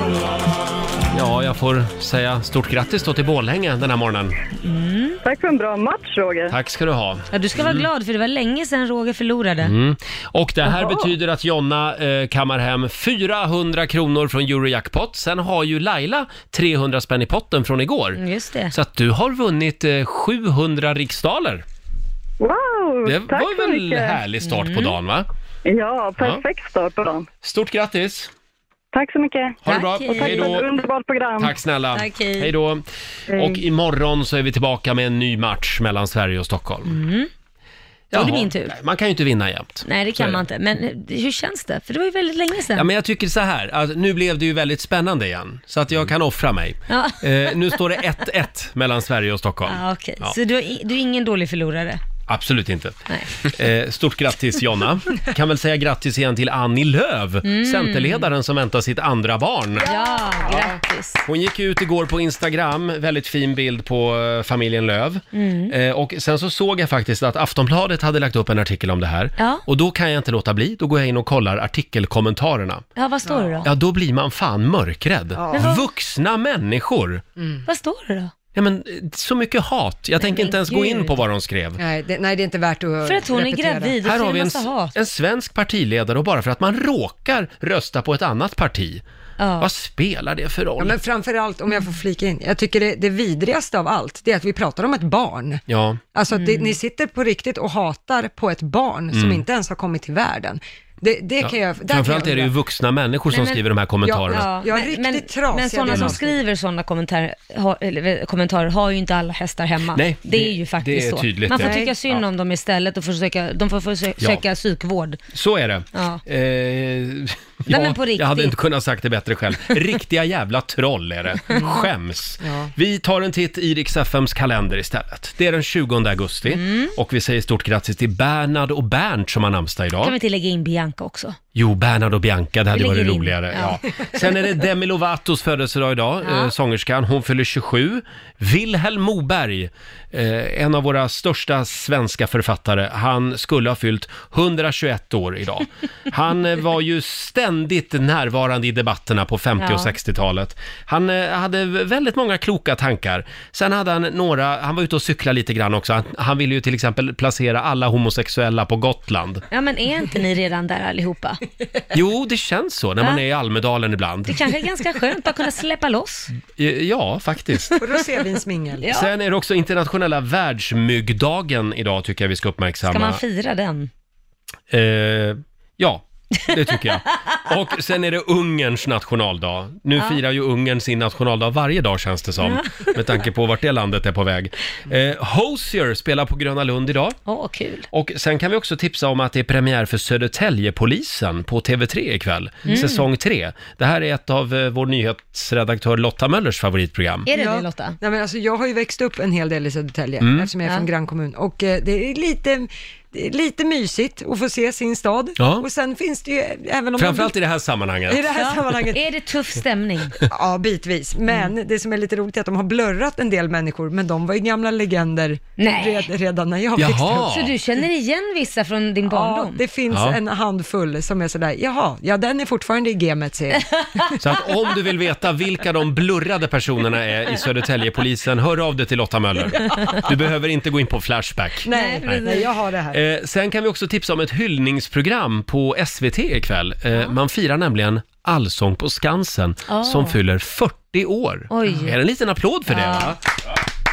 [LAUGHS] Ja, jag får säga stort grattis då till Borlänge den här morgonen. Tack för en bra match Roger. Tack ska du ha. Ja, du ska vara glad för det var länge sedan Roger förlorade. Mm. Och det här Jaha. betyder att Jonna eh, kammar hem 400 kronor från Eurojackpot. Sen har ju Laila 300 spänn i potten från igår. Mm, Just det. Så att du har vunnit eh, 700 riksdaler. Wow, Det tack var så väl mycket. härlig start på dagen va? Ja, perfekt start på dagen. Stort grattis! Tack så mycket. Ha det bra. Och tack Hej för då. ett underbart program. Tack snälla. Tack, hej. Hej då. Hej. Och imorgon så är vi tillbaka med en ny match mellan Sverige och Stockholm. Då är det Jaha. min tur. Man kan ju inte vinna jämt. Nej, det Så är kan man inte. Men eh, hur känns det? För det var ju väldigt länge sedan. Ja, men jag tycker så här, att nu blev det ju väldigt spännande igen, så att jag kan offra mig. Ja. Eh, nu står det 1-1 mellan Sverige och Stockholm. Ah, Okej, Ja, så du, har i- du är ingen dålig förlorare? Absolut inte. Eh, stort grattis Jonna. Kan väl säga grattis igen till Annie Lööf, Mm. Centerledaren som väntar sitt andra barn. Ja, grattis. Hon gick ut igår på Instagram, väldigt fin bild på eh, familjen Löv. Mm. Eh, och sen så såg jag faktiskt att Aftonbladet hade lagt upp en artikel om det här. Ja. Och då kan jag inte låta bli, då går jag in och kollar artikelkommentarerna. Ja, vad står det då? Ja, då blir man fan mörkrädd. Ja. Men vad- Vuxna människor! Vad står det då? Ja, men eh, så mycket hat. Jag tänker men inte ens gå in gud. på vad de skrev. Nej det, nej, det är inte värt att För att hon är repetera. gravid. Här har vi en, massa hat. en svensk partiledare och bara för att man råkar rösta på ett annat parti. Vad spelar det för Ja, roll? men framförallt, om jag får flika in, jag tycker det, det vidrigaste av allt, det är att vi pratar om ett barn. Ja. Alltså, att det, Mm. ni sitter på riktigt och hatar på ett barn som Mm. inte ens har kommit till världen. Det, det kan jag... där kan Framförallt jag är det ju undra. vuxna människor som Nej, men- skriver de här kommentarerna. Ja, ja, riktigt men, trasiga men sådana som delar. skriver sådana kommentarer har, eller, eh, kommentarer har ju inte alla hästar hemma. Nej, det, det- är ju det faktiskt är så. tydligt Man får det. tycka synd Ja. om dem istället och försöka, de får försöka Ja. psykvård. Så är det. Ja. Eh, [LAUGHS] ja, men på riktigt. jag hade inte kunnat sagt det bättre [LAUGHS] själv. Riktiga jävla troll är det. Mm. Skäms. Vi tar en titt i Rix FMs kalender istället. Det är den 20 augusti Mm. och vi säger stort grattis till Bernhard och Bernt som har namnsdag idag. Kan vi inte lägga in Bianca också? Jo, Bernhard och Bianca, det hade Vi varit lägger in. roligare. Ja. Ja. Sen [LAUGHS] är det Demi Lovatos födelsedag idag, Ja. eh, sångerskan. Hon fyller 27. Vilhelm Moberg, eh, en av våra största svenska författare, han skulle ha fyllt 121 år idag. Han eh, var ju ständigt närvarande i debatterna på 50 och Ja. 60-talet. Han eh, hade väldigt många kloka tankar. Sen hade han några, han var ute och cyklade lite grann också. Han, han ville ju till exempel placera alla homosexuella på Gotland. Ja, men är inte ni redan där allihopa? Jo, det känns så när man Ja. är i Almedalen ibland. Det kanske är ganska skönt att kunna släppa loss. E- Ja, faktiskt. [LAUGHS] Och rosévinsmingel. Ja. Sen är det också internationella världsmyggdagen idag tycker jag vi ska uppmärksamma. Ska man fira den? Eh, ja, det tycker jag. Och sen är det Ungerns nationaldag. Nu Ja. firar ju Ungern sin nationaldag varje dag känns det som, Ja. med tanke på vart det landet är på väg. Eh, Hosier spelar på Gröna Lund idag. Åh, kul. Och sen kan vi också tipsa om att det är premiär för Södertäljepolisen på TV3 ikväll, Mm. säsong 3. Det här är ett av eh, vår nyhetsredaktör Lotta Möllers favoritprogram. Är det det, Lotta? Nej, men alltså, jag har ju växt upp en hel del i Södertälje, Mm. eftersom jag är Ja. från grannkommun. Och eh, det är lite... Det är lite mysigt att få se sin stad. Ja. Och sen finns det ju, även om man Framförallt i det här sammanhanget. I det här sammanhanget. Är det tuff [LAUGHS] stämning? Ja, bitvis. Men Mm. det som är lite roligt är att de har blurrat en del människor, men de var ju gamla legender red, redan när jag växte upp. Så du känner igen vissa från din barndom? Ja, det finns Ja. en handfull som är sådär, jaha, ja den är fortfarande i gamet ser [LAUGHS] jag. Så att om du vill veta vilka de blurrade personerna är i Södertäljepolisen, hör av dig till Lotta Möller. Du behöver inte gå in på Flashback. Nej, Nej. nej, jag har det här. Eh, sen kan vi också tipsa om ett hyllningsprogram på SVT ikväll. Eh, Man firar nämligen Allsång på Skansen Ah. som fyller 40 år. Oj. Är det en liten applåd för det? Ja. Va?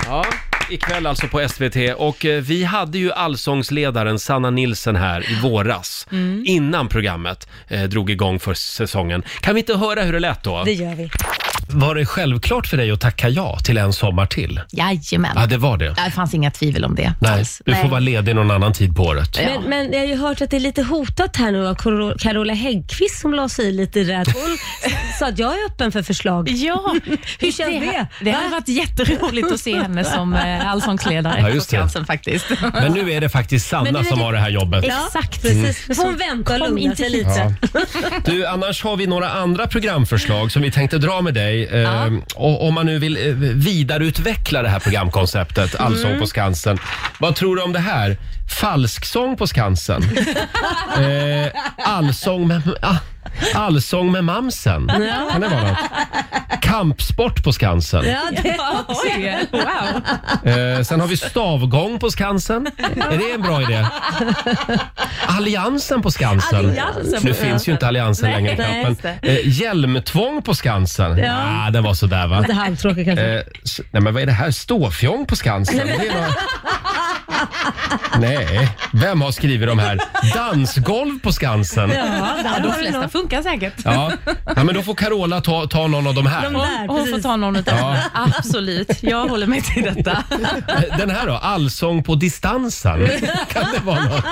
Ja, ikväll alltså på SVT. Och eh, vi hade ju allsångsledaren Sanna Nilsson här i våras, Mm. innan programmet eh, drog igång för säsongen. Kan vi inte höra hur det lät då? Det gör vi. Var det självklart för dig att tacka ja till en sommar till? Jajamän. Ja, det var det. Det fanns inga tvivel om det. Nej, du får Nej. vara ledig någon annan tid på året. Men, men jag har ju hört att det är lite hotat här nu av Caro- Carola Häggkvist som la sig i lite där. att [LAUGHS] Hon s- sa att jag är öppen för förslag. Ja, [LAUGHS] Hur känns det? Det Va? hade varit jätteroligt att se henne som eh, allsångsledare Ja, just det. på Skansen faktiskt. Men nu är det faktiskt Men nu Sanna är som det- har det här jobbet. Exakt. Mm. Precis. Hon väntar och Kom lugnar inte sig hit. lite. Du, annars har vi några andra programförslag som vi tänkte dra med dig. Eh, och, om man nu vill eh, vidareutveckla det här programkonceptet, Allsång Mm. på Skansen. Vad tror du om det här? Falsksång på Skansen. eh, allsång, med, ah, allsång med mamsen. Ja. Kan det vara något? Kampsport på Skansen. Oj, wow. Eh, sen har vi stavgång på Skansen. Är det en bra idé? Alliansen på Skansen. Alliansen på nu Skansen. finns ju inte Alliansen Nej, längre. nej, knappt, just men, eh, hjälmtvång på Skansen. Ja. Ja, den var sådär va? Lite halvtråkig kanske. Eh, s- nej men vad är det här? Ståfjång på Skansen? Nej, men- Det är [LAUGHS] några... Nej, vem har skrivit de här? Dansgolv på Skansen. Ja, de flesta funkar säkert. Ja. ja, men då får Carola ta, ta någon av de här. De där, hon får ta någon av dem. Ja. Absolut, jag håller mig till detta. Den här då? Allsång på distansen. Kan det vara något?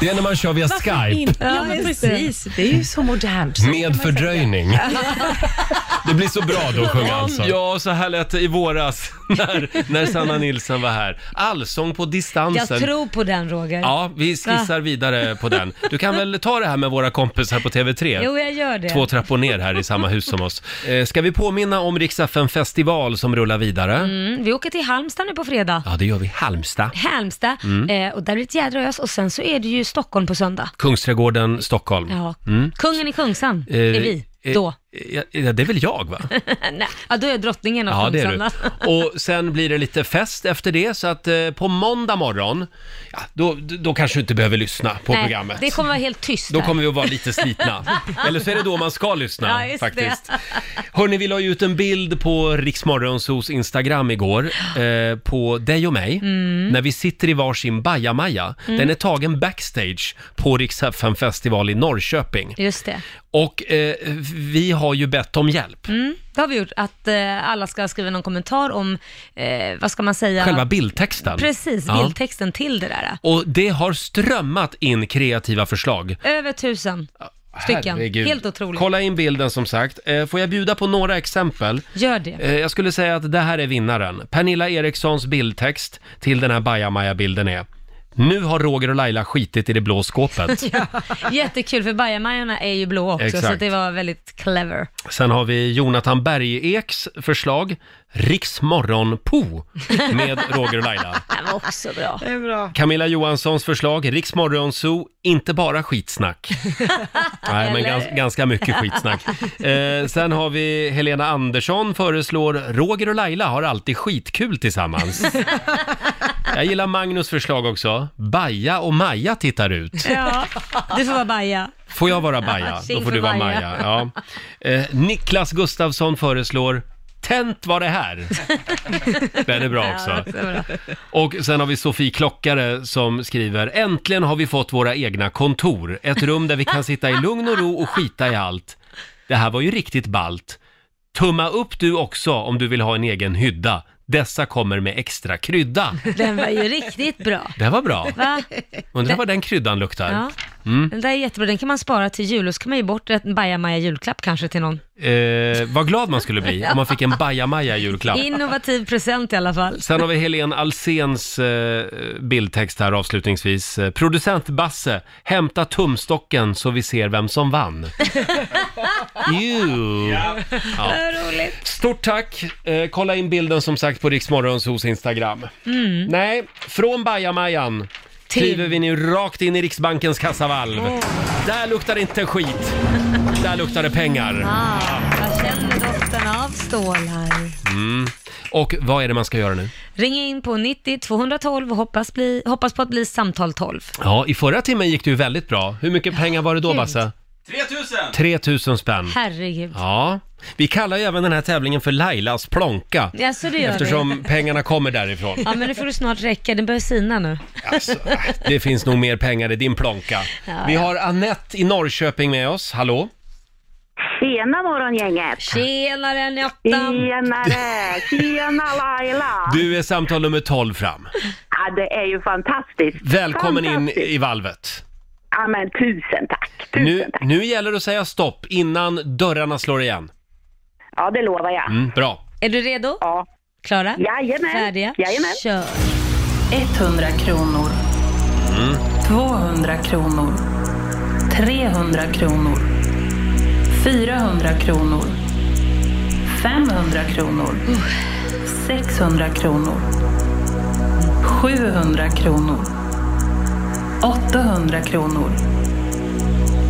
Det är när man kör via Skype. Ja, men precis. Det är ju så modernt. Med fördröjning. Det blir så bra då att sjunga alltså. Ja, så här lät det i våras [LAUGHS] när, när Sanna Nilsson var här. Allsång på distansen. Jag tror på den Roger. Ja, vi skissar vidare på den. Du kan väl ta det här med våra kompisar på TV3? Jo, jag gör det. Två trappor ner här i samma hus som oss. Eh, ska vi påminna om Riksdagen festival som rullar vidare? Mm, vi åker till Halmstad nu på fredag. Ja, det gör vi. Halmstad. Halmstad, Mm. eh, och där blir det ett jädra ös och sen så är det ju Stockholm på söndag. Kungsträdgården, Stockholm. Ja. Mm. Kungen i Kungsan Eh, är vi, eh, då. Ja, ja, det är väl jag va? [LAUGHS] Nej, ja, då är jag drottningen av Ja, det är du. Kungsan. [LAUGHS] Och sen blir det lite fest efter det, så att eh, på måndag morgon, ja, då, då kanske du inte behöver lyssna på [LAUGHS] Nej, programmet. Det kommer vara helt tyst Då där. kommer vi att vara lite [LAUGHS] slitna. Eller så är det då man ska lyssna Ja, just faktiskt. det. Hörni, vi la ju ut en bild på Riksmorgonsos Instagram igår eh, på dig och mig Mm. när vi sitter i varsin bajamaja. Mm. Den är tagen backstage på Rix FM festival i Norrköping. [LAUGHS] Just det. Och eh, vi har ju bett om hjälp. Mm, det har vi gjort, att eh, alla ska skriva någon kommentar om, eh, vad ska man säga? Själva bildtexten. Precis, Ja. bildtexten till det där. Och det har strömmat in kreativa förslag. Över tusen stycken. Herregud. Helt otroligt. Kolla in bilden som sagt. Eh, Får jag bjuda på några exempel? Gör det. Eh, Jag skulle säga att det här är vinnaren. Pernilla Erikssons bildtext till den här bajamaja-bilden är Nu har Roger och Laila skitit i det blå [LAUGHS] skåpet. [LAUGHS] ja. Jättekul, för bajamajorna är ju blå också, Exakt. så det var väldigt clever. Sen har vi Jonathan Bergeks förslag. Riksmorgon-po med Roger och Laila. Det var också [LAUGHS] bra. Det är bra. Camilla Johanssons förslag, Riksmorgon-zoo, inte bara skitsnack. Nej, men Eller? gans, ganska mycket skitsnack. Eh, sen har vi Helena Andersson föreslår, Roger och Laila har alltid skitkul tillsammans. Jag gillar Magnus förslag också, Baja och Maja tittar ut. Ja, du får vara baja. Får jag vara Baja, Tjing då får för du vara Baja. Maja. Ja. Eh, Niklas Gustafsson föreslår, Tänt var det här. Den är bra också. Ja, det är bra. Och sen har vi Sofie Klockare som skriver Äntligen har vi fått våra egna kontor. Ett rum där vi kan sitta i lugn och ro och skita i allt. Det här var ju riktigt balt. Tumma upp du också om du vill ha en egen hydda. Dessa kommer med extra krydda. Den var ju riktigt bra. Det var bra. Va? Undrar vad den kryddan luktar. Ja. Mm. Den där är jättebra, den kan man spara till jul och så kan man ge bort ett bajamaja julklapp kanske till någon. Eh, vad glad man skulle bli om man fick en bajamaja i julklapp. Innovativ present i alla fall. Sen har vi Helen Alséns eh, bildtext här avslutningsvis. Eh, Producent Basse, hämta tumstocken så vi ser vem som vann. Ew. Ja. roligt. Stort tack! Eh, kolla in bilden som sagt på Riksmorgons hos Instagram. Mm. Nej, från Bajamajan Till- kliver vi nu rakt in i Riksbankens kassavalv. Där luktar det inte skit. Där luktar det pengar. Ah, jag känner doften av stål här. Mm. Och vad är det man ska göra nu? Ring in på 90 212 och hoppas, bli, hoppas på att bli samtal 12. Ja, i förra timmen gick det ju väldigt bra. Hur mycket pengar var det då, Gud. Basse? 3000! 3000 spänn. Herregud. Ja, vi kallar ju även den här tävlingen för Lailas plånka. Ja, så det gör vi. eftersom pengarna kommer [LAUGHS] därifrån. Ja, men nu får du snart räcka, den börjar sina nu. Det finns nog mer pengar i din plånka. Alltså, Ja, Vi ja. har Annette i Norrköping med oss. Hallå? Tjena morgongänget! Tjenare Nettan! Mm. Tjenare! Tjena Laila! Du är samtal nummer 12 fram. Ja, det är ju fantastiskt! Välkommen in Fantastiskt. i valvet. Ja men tusen tack! Nu, nu gäller det att säga stopp innan dörrarna slår igen. Ja det lovar jag! Mm, bra. Är du redo? Ja. Klara? Jajamän. Färdiga? Jajamän. Kör! 100 kronor. 200 kronor. 300 kronor. 400 kronor. 500 kronor. 600 kronor. 700 kronor. 800 kronor.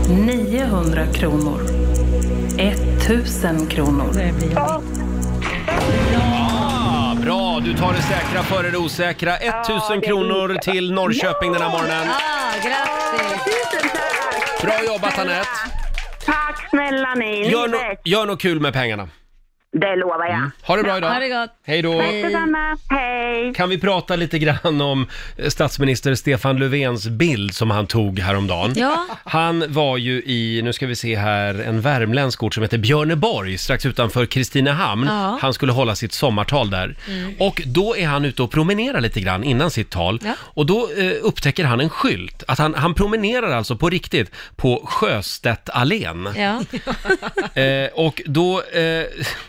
900 kronor. 1000 kronor. Ah, bra, du tar det säkra före det osäkra. 1000 kronor till Norrköping den här morgonen. Ah, grattis! Tusen tack! Bra jobbat Anette! Tack snälla ni! Gör, Ni no Mm. vet, gör något kul med pengarna. Det lovar jag! Ha det bra idag! Ha det gott. Hej då! Tack detsamma! Hej! Kan vi prata lite grann om eh, statsminister Stefan Löfvens bild som han tog häromdagen? Ja. Han var ju i, nu ska vi se här, en värmländsk ort som heter Björneborg, strax utanför Kristinehamn. Ja. Han skulle hålla sitt sommartal där. Mm. Och då är han ute och promenerar lite grann innan sitt tal. Ja. Och då eh, upptäcker han en skylt, att han, han promenerar alltså på riktigt på Sjöstedtallén. Ja. Eh, och då, eh,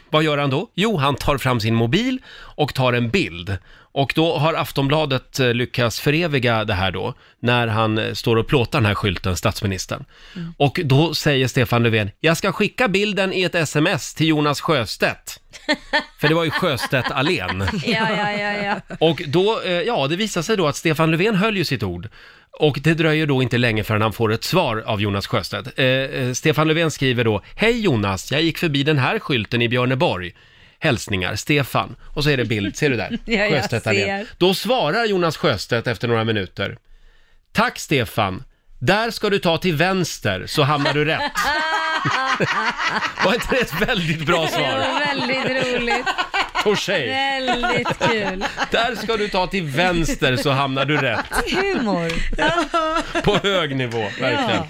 vad gör han då? Jo, han tar fram sin mobil och tar en bild. Och då har Aftonbladet eh, lyckats föreviga det här då, när han eh, står och plåtar den här skylten, statsministern. Och då säger Stefan Löfven, jag ska skicka bilden i ett sms till Jonas Sjöstedt. För det var ju Sjöstedt Allén. Ja, ja, ja, ja. Och då, eh, ja, det visar sig då att Stefan Löfven höll ju sitt ord. Och det dröjer då inte länge förrän han får ett svar av Jonas Sjöstedt. Eh, eh, Stefan Löfven skriver då, Hej Jonas, jag gick förbi den här skylten i Björneborg. Hälsningar, Stefan. Och så är det bild, ser du där? [LAUGHS] Ja, jag Sjöstedt Allén. ser. Då svarar Jonas Sjöstedt efter några minuter. Tack Stefan, där ska du ta till vänster så hamnar du rätt. [LAUGHS] Var inte det ett väldigt bra Det var [LAUGHS] svar? väldigt roligt. Touché! Väldigt kul. Där ska du ta till vänster så hamnar du rätt. Humor. På hög nivå, verkligen.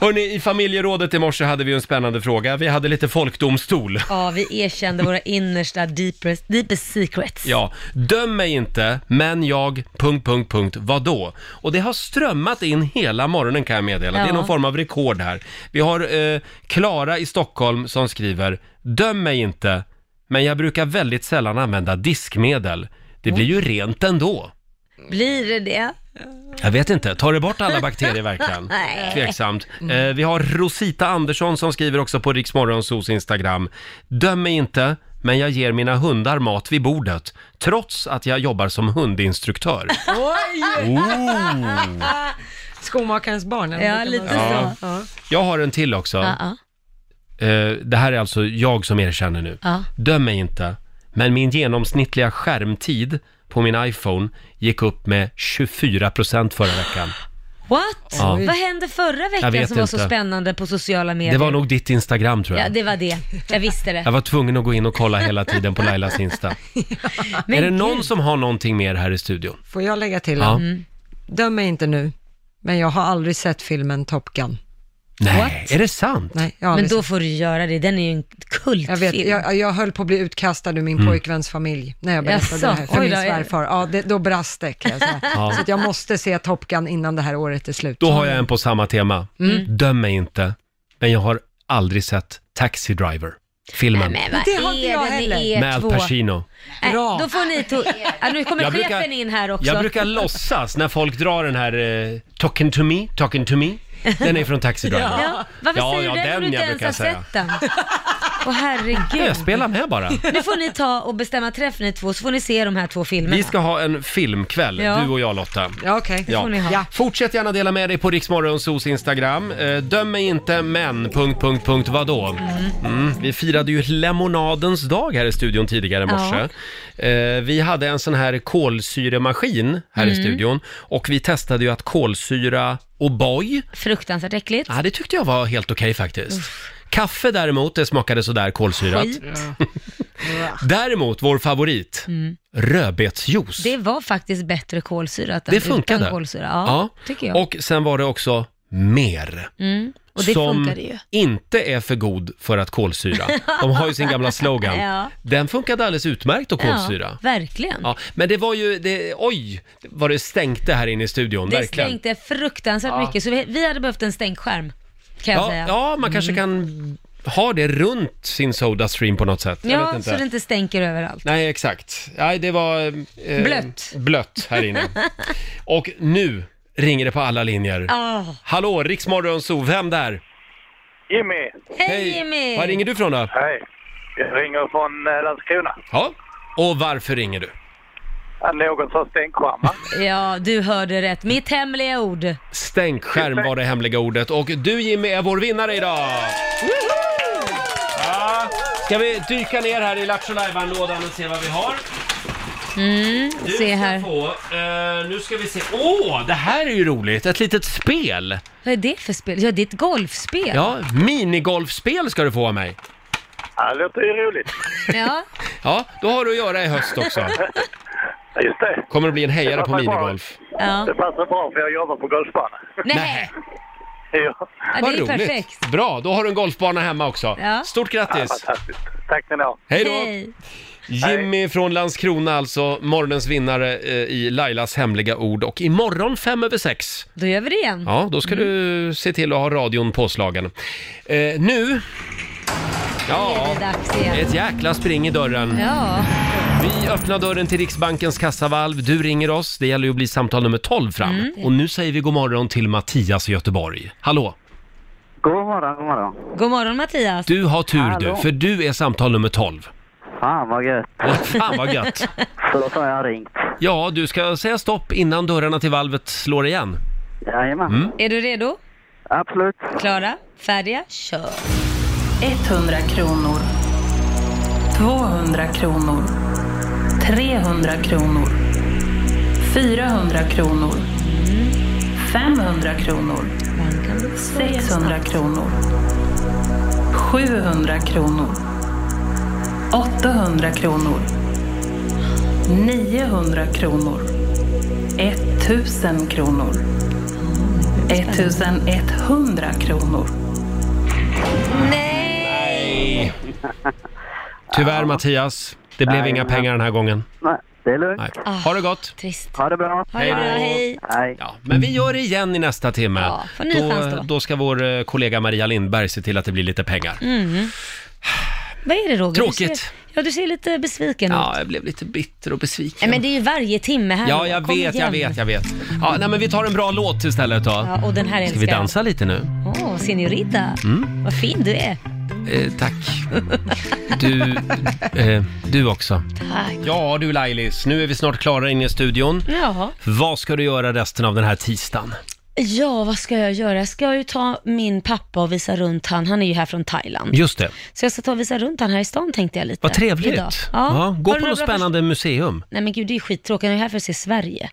Hörni, i familjerådet i morse hade vi ju en spännande fråga. Vi hade lite folkdomstol. Ja, vi erkände våra innersta deepest, deepest secrets. Ja, döm mig inte, men jag... Punkt, punkt, punkt, vadå? Och det har strömmat in hela morgonen kan jag meddela. Det är Ja. någon form av rekord här. Vi har eh, Klara i Stockholm som skriver, döm mig inte, men jag brukar väldigt sällan använda diskmedel. Det blir ju rent ändå. Blir det det? Jag vet inte, tar det bort alla bakterier verkligen? Nej. Tveksamt. Eh, vi har Rosita Andersson som skriver också på Riksmorgonsos Instagram. Döm mig inte, men jag ger mina hundar mat vid bordet, trots att jag jobbar som hundinstruktör. Oj! Oh. Skomakarens barn. eller Ja, vad kan lite man säga? så. Ja. Jag har en till också. Ja, Eh, det här är alltså jag som erkänner nu. ja. Döm mig inte, men min genomsnittliga skärmtid på min iPhone gick upp med 24% förra [GASPS] veckan. What? Ja. Vad hände förra Jag veckan som vet var så inte. spännande på sociala medier? Det var nog ditt Instagram tror jag. Ja, det var det. Jag visste det. Jag var tvungen att gå in och kolla hela tiden på Lailas [LAUGHS] Insta. Men är det någon gud. som har någonting mer här i studion? Får jag lägga till Ja. en? Mm. Döm mig inte nu, men jag har aldrig sett filmen Top Gun. Nej, är det sant? Nej, jag har Men aldrig liksom- då sett. får du göra det. Den är ju en kultfilm. Jag, vet, jag, jag höll på att bli utkastad ur min Mm. pojkväns familj när jag berättade Jaså, det här för oj min då, är det- svärfar. Ja, det, då brast det kan jag säga. [LAUGHS] Ja. Så att jag måste se Top Gun innan det här året är slut. Då har jag en på samma tema. Mm. Döm mig inte, men jag har aldrig sett Taxi Driver, filmen. Nej, men vad Det har inte är jag det med heller. er med Al två? Pacino. Nej, då får ni to- [LAUGHS] ja, Nu kommer Jag chefen brukar- in här också. Jag brukar låtsas när folk drar den här eh, “Talking to me, talking to me”. Den är från [LAUGHS] Taxi Driver. Ja. Varför Ja, säger ja, du den den om du inte jag ens brukar har säga. sett den? Åh herregud. Jag spelar med [LAUGHS] bara. Nu får ni ta och bestämma träff ni två, så får ni se de här två filmerna. Vi ska ha en filmkväll, Ja. du och jag Lotta. Ja, okej. Ja. Fortsätt gärna dela med dig på Riksmorgonsos Instagram. Eh, döm mig inte, men... Punkt, punkt, punkt, vadå? Mm. Vi firade ju lemonadens dag här i studion tidigare i morse. Eh, vi hade en sån här kolsyremaskin här i Mm. studion och vi testade ju att kolsyra O'boy. Fruktansvärt äckligt. Ja, det tyckte jag var helt okej faktiskt. Kaffe däremot, det smakade sådär kolsyrat. Skit. Däremot, vår favorit, Mm. rödbetsjuice. Det var faktiskt bättre kolsyrat än Det funkade. utan kolsyra. Ja, tycker jag. Och sen var det också mer. Mm. Och det som funkar ju. inte är för god för att [LAUGHS] kolsyra. De har ju sin gamla slogan. Ja. Den funkade alldeles utmärkt att kolsyra. Ja, verkligen. Ja, men det var ju, det, oj, vad det stänkte här inne i studion, det verkligen. stänkte fruktansvärt Ja. mycket, så vi, vi hade behövt en stänkskärm. Kan jag ja, säga. Mm. ja, man kanske kan ha det runt sin Sodastream på något sätt. Jag vet Ja, inte. så det inte stänker överallt. Nej, exakt. Nej, det var... eh, Blött. Blött här [LAUGHS] inne. Och nu ringer det på alla linjer. Ah. Hallå, Riksmorgon Zoo, vem där? Jimmy! Hej Jimmy! Var ringer du från då? Hej! Jag ringer från eh, Landskrona. Ja. Och varför ringer du? Ja, Någon sa stänkskärmar. Ja, du hörde rätt. Mitt hemliga ord. Stänkskärm var det hemliga ordet och du Jimmy är vår vinnare idag! Ja. Ska vi dyka ner här i Lattjo Lajban-lådan och se vad vi har? Mm, Du se här. ska få, eh, nu ska vi se, åh, det här är ju roligt, ett litet spel! Vad är det för spel? Ja, det är ett golfspel. Ja, minigolfspel ska du få av mig! Ja, det låter ju roligt. Ja. Ja, då har du att göra i höst också. Just det. Kommer det bli en hejare på Det passar bra. minigolf? [LAUGHS] Ja. Det passar bra för jag jobbar på golfbana. Nej. Ja. Ja, det är Vad ju roligt! perfekt. Bra, då har du en golfbana hemma också. Ja. Stort grattis! Tack ska ni ha. Hej då! Jimmy från Landskrona alltså, morgonens vinnare eh, i Lailas hemliga ord och imorgon fem över sex. Då gör vi det igen. Ja, då Mm. ska du se till att ha radion påslagen. Eh, nu... Ja, Det är dags igen. ett jäkla spring i dörren. Ja. Vi öppnar dörren till Riksbankens kassavalv. Du ringer oss. Det gäller ju att bli samtal nummer 12 fram. Mm. Och nu säger vi god morgon till Mattias i Göteborg. Hallå! God morgon, god morgon. God morgon Mattias. Du har tur Hallå. du, för du är samtal nummer 12. Fan vad gött. Fan vad gött. [LAUGHS] Förlåt om jag har ringt. Ja, du ska säga stopp innan dörrarna till valvet slår igen. Jajamän. Mm. Är du redo? Absolut. Klara, färdiga, kör. 100 kronor. 200 kronor. 300 kronor. 400 kronor. 500 kronor. 600 kronor. 700 kronor. 800 kronor. 900 kronor. 1000 kronor. 1100 kronor. Nej! Tyvärr Mattias, det blev Nej, inga men- pengar den här gången. Nej, det är lugnt. Ha det gott! Trist. Ha det bra. Ha det bra, hej. Hej. Ja, Men vi gör det igen i nästa timme. Ja, får ny chans då, då. då ska vår eh, kollega Maria Lindberg se till att det blir lite pengar. Mm. Vad är det Roger? Du Tråkigt. ser, ja, du ser lite besviken Ja, ut. jag blev lite bitter och besviken. Nej, men det är ju varje timme här. Ja, Roger. jag Kom vet, jag igen. vet, jag vet. Ja, nej, men vi tar en bra låt istället då. Ja, och den här Ska vi älskar jag. dansa lite nu? Åh, oh, Senorita. Mm. Vad fin du är. Eh, tack. Du, eh, du också. Tack. Ja du Lailis, nu är vi snart klara inne i studion. Jaha. Vad ska du göra resten av den här tisdagen? Ja, vad ska jag göra? Jag ska ju ta min pappa och visa runt han. Han är ju här från Thailand. Just det. Så jag ska ta och visa runt han här i stan tänkte jag lite. Vad trevligt. Idag. Ja. Ja. gå på Har du något några spännande museum. Nej men gud, det är ju skittråkigt. Jag är här för att se Sverige.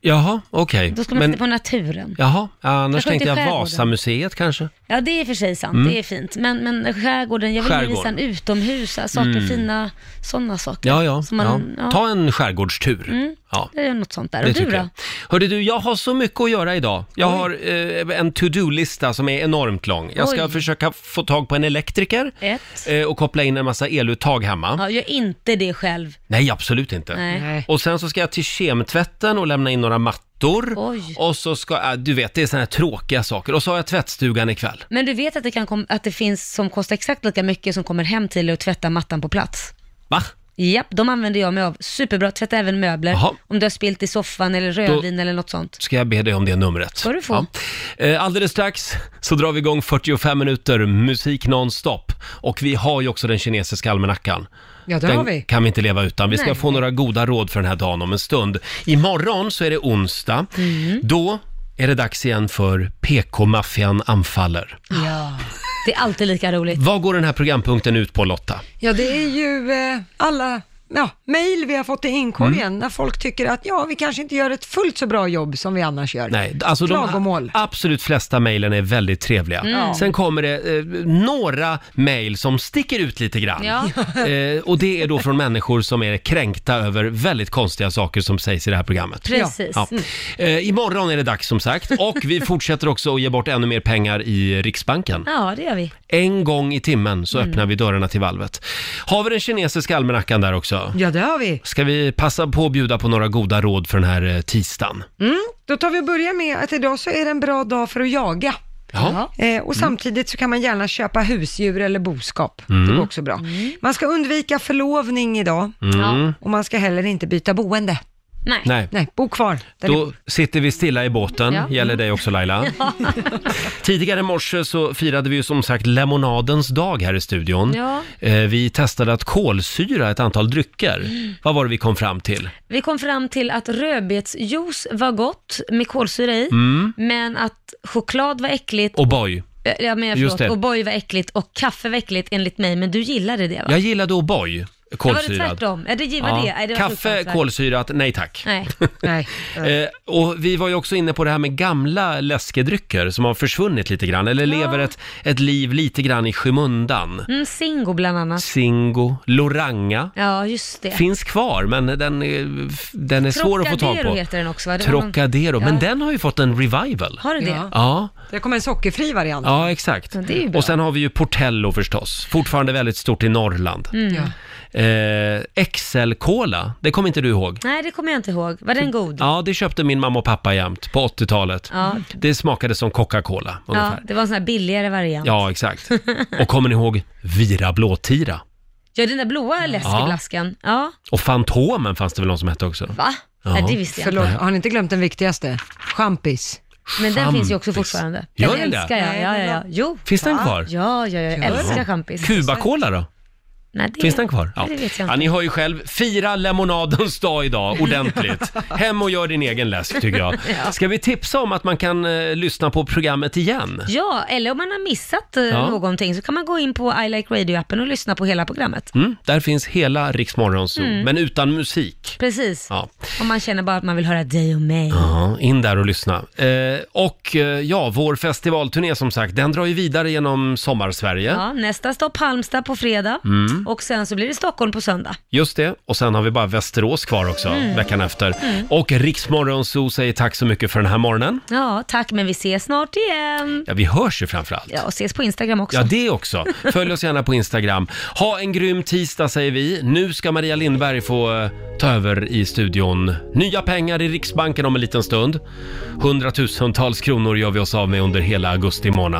Jaha, okej. Då ska man Men, titta på naturen. jaha, annars Kanske tänkte inte i jag skärgården. Vasamuseet kanske? Ja, det är i och för sig sant. Mm. Det är fint. Men, men skärgården, jag vill ju Skärgården. visa en utomhus, alltså, saker, Mm. fina sådana saker. Ja, ja. Så man- ja. ja. Ta en skärgårdstur. Mm. Ja. Det är något sånt där. Och du tycker då? jag. Hörde du, jag har så mycket att göra idag. Jag har eh, en to-do-lista som är enormt lång. Jag ska Oj. försöka få tag på en elektriker Ett. eh, och koppla in en massa eluttag hemma. Ja, gör inte det själv. Nej, absolut inte. Nej. Nej. Och sen så ska jag till kemtvätten och lämna in några mattor. Och så ska, eh, du vet, det är såna här tråkiga saker. Och så har jag tvättstugan ikväll. Men du vet att det, kan kom, att det finns som kostar exakt lika mycket som kommer hem till dig och tvättar mattan på plats? Va? Japp, de använder jag mig av. Superbra, tvätta även möbler. Jaha. Om du har spilt i soffan eller rödvin eller något sånt. Ska jag be dig om det numret? Ska du få. Ja. Eh, Alldeles strax så drar vi igång 45 minuter musik nonstop. Och vi har ju också den kinesiska almanackan. Ja, det den har vi. kan vi inte leva utan. Vi ska Nej. få några goda råd för den här dagen om en stund. Imorgon så är det onsdag. Mm. Då är det dags igen för PK-maffian anfaller. Ja. Det är alltid lika roligt. Vad går den här programpunkten ut på Lotta? Ja, det är ju eh, alla ja, mail vi har fått i Mm. inkorgen när folk tycker att ja, vi kanske inte gör ett fullt så bra jobb som vi annars gör. Nej, alltså Klagomål. de a- absolut flesta mejlen är väldigt trevliga. Mm. Sen kommer det eh, några mejl som sticker ut lite grann. Ja. Eh, och det är då från människor som är kränkta över väldigt konstiga saker som sägs i det här programmet. Precis. Ja. Mm. Eh, imorgon är det dags som [LAUGHS] sagt och vi fortsätter också att ge bort ännu mer pengar i Riksbanken. Ja, det gör vi. En gång i timmen så Mm. öppnar vi dörrarna till valvet. Har vi den kinesiska almanackan där också? Ja, det har vi. Ska vi passa på att bjuda på några goda råd för den här eh, tisdagen? Mm, då tar vi och börjar med att idag så är det en bra dag för att jaga. Jaha. Eh, och samtidigt så kan man gärna köpa husdjur eller boskap. Det Mm. går också bra. Man ska undvika förlovning idag Mm. Ja. och man ska heller inte byta boende. Nej. Nej. bo kvar. där Då ni- sitter vi stilla i båten, Ja. gäller dig också [LAUGHS] Laila. Tidigare i morse så firade vi ju som sagt lemonadens dag här i studion. Ja. Eh, Vi testade att kolsyra ett antal drycker. Mm. Vad var det vi kom fram till? Vi kom fram till att rödbetsjuice var gott med kolsyra i, Mm. men att choklad var äckligt. Och boy. Eh, Ja, men jag Just förlåt, det. O'boy var äckligt och kaffe var äckligt enligt mig, men du gillade det va? Jag gillade O'boy, Det var det kolsyrad. tvärtom. Ja, det var det. Nej, det var Kaffe, fruktansvärt. kolsyrat, nej tack. Nej. Nej. [LAUGHS] Eh, och vi var ju också inne på det här med gamla läskedrycker som har försvunnit lite grann, eller lever ett, ett liv lite grann i skymundan. Mm, Singo bland annat. Singo, Loranga. Ja, just det. Finns kvar, men den är, den är svår att få tag Trocadero på. heter den också va? Det var någon- Trocadero, men Ja. den har ju fått en revival. Har den det? Ja. Ja, Det kommer en sockerfri variant. ja exakt. Ja, det är ju bra. och sen har vi ju Portello förstås, fortfarande väldigt stort i Norrland. Mm. Eh, XL-cola, det kommer inte du ihåg? Nej, det kommer jag inte ihåg. Var den god? Ja, det köpte min mamma och pappa jämt på 80-talet. Ja. Det smakade som Coca-Cola Ja, ungefär. det var en sån här billigare variant. Ja, exakt. Och kommer ni ihåg Vira Blåtira? Ja, den där blåa läskeblaskan. Ja. Och Fantomen fanns det väl någon som hette också? Va? Ja. Nej, det visste jag Förlåt, inte. har ni inte glömt den viktigaste? Champis. Men den finns ju också Champis. fortfarande. Gör den den det? älskar jag. Ja, ja, ja. Jo. Finns den Va? kvar? Ja, ja, ja, jag älskar champis. Cubacola då? Nej, det... Finns den kvar? Ja. Det vet jag ja, inte. ni hör ju själv. Fira lemonadens dag idag ordentligt. Hem och gör din egen läsk tycker jag. [LAUGHS] Ja. Ska vi tipsa om att man kan eh, lyssna på programmet igen? Ja, eller om man har missat eh, Ja. någonting så kan man gå in på I Like Radio-appen och lyssna på hela programmet. Mm, där finns hela Rix Morgonzoo, Mm. men utan musik. Precis. Ja. Om man känner bara att man vill höra dig och mig. Ja, in där och lyssna. Eh, och eh, ja, vår festivalturné som sagt, den drar ju vidare genom sommarsverige. Ja, nästa stopp Halmstad på fredag Mm. och sen så blir det Stockholm på söndag. Just det, och sen har vi bara Västerås kvar också Mm. veckan efter. Mm. Och Riksmorgonzoo säger tack så mycket för den här morgonen. Ja, tack, men vi ses snart igen. Ja, vi hörs ju framförallt. Ja, och ses på Instagram också. Ja, det också. Följ oss gärna på Instagram. Ha en grym tisdag säger vi. Nu ska Maria Lindberg få eh, ta över i studion. Nya pengar i Riksbanken om en liten stund. Hundratusentals kronor gör vi oss av med under hela augusti månad.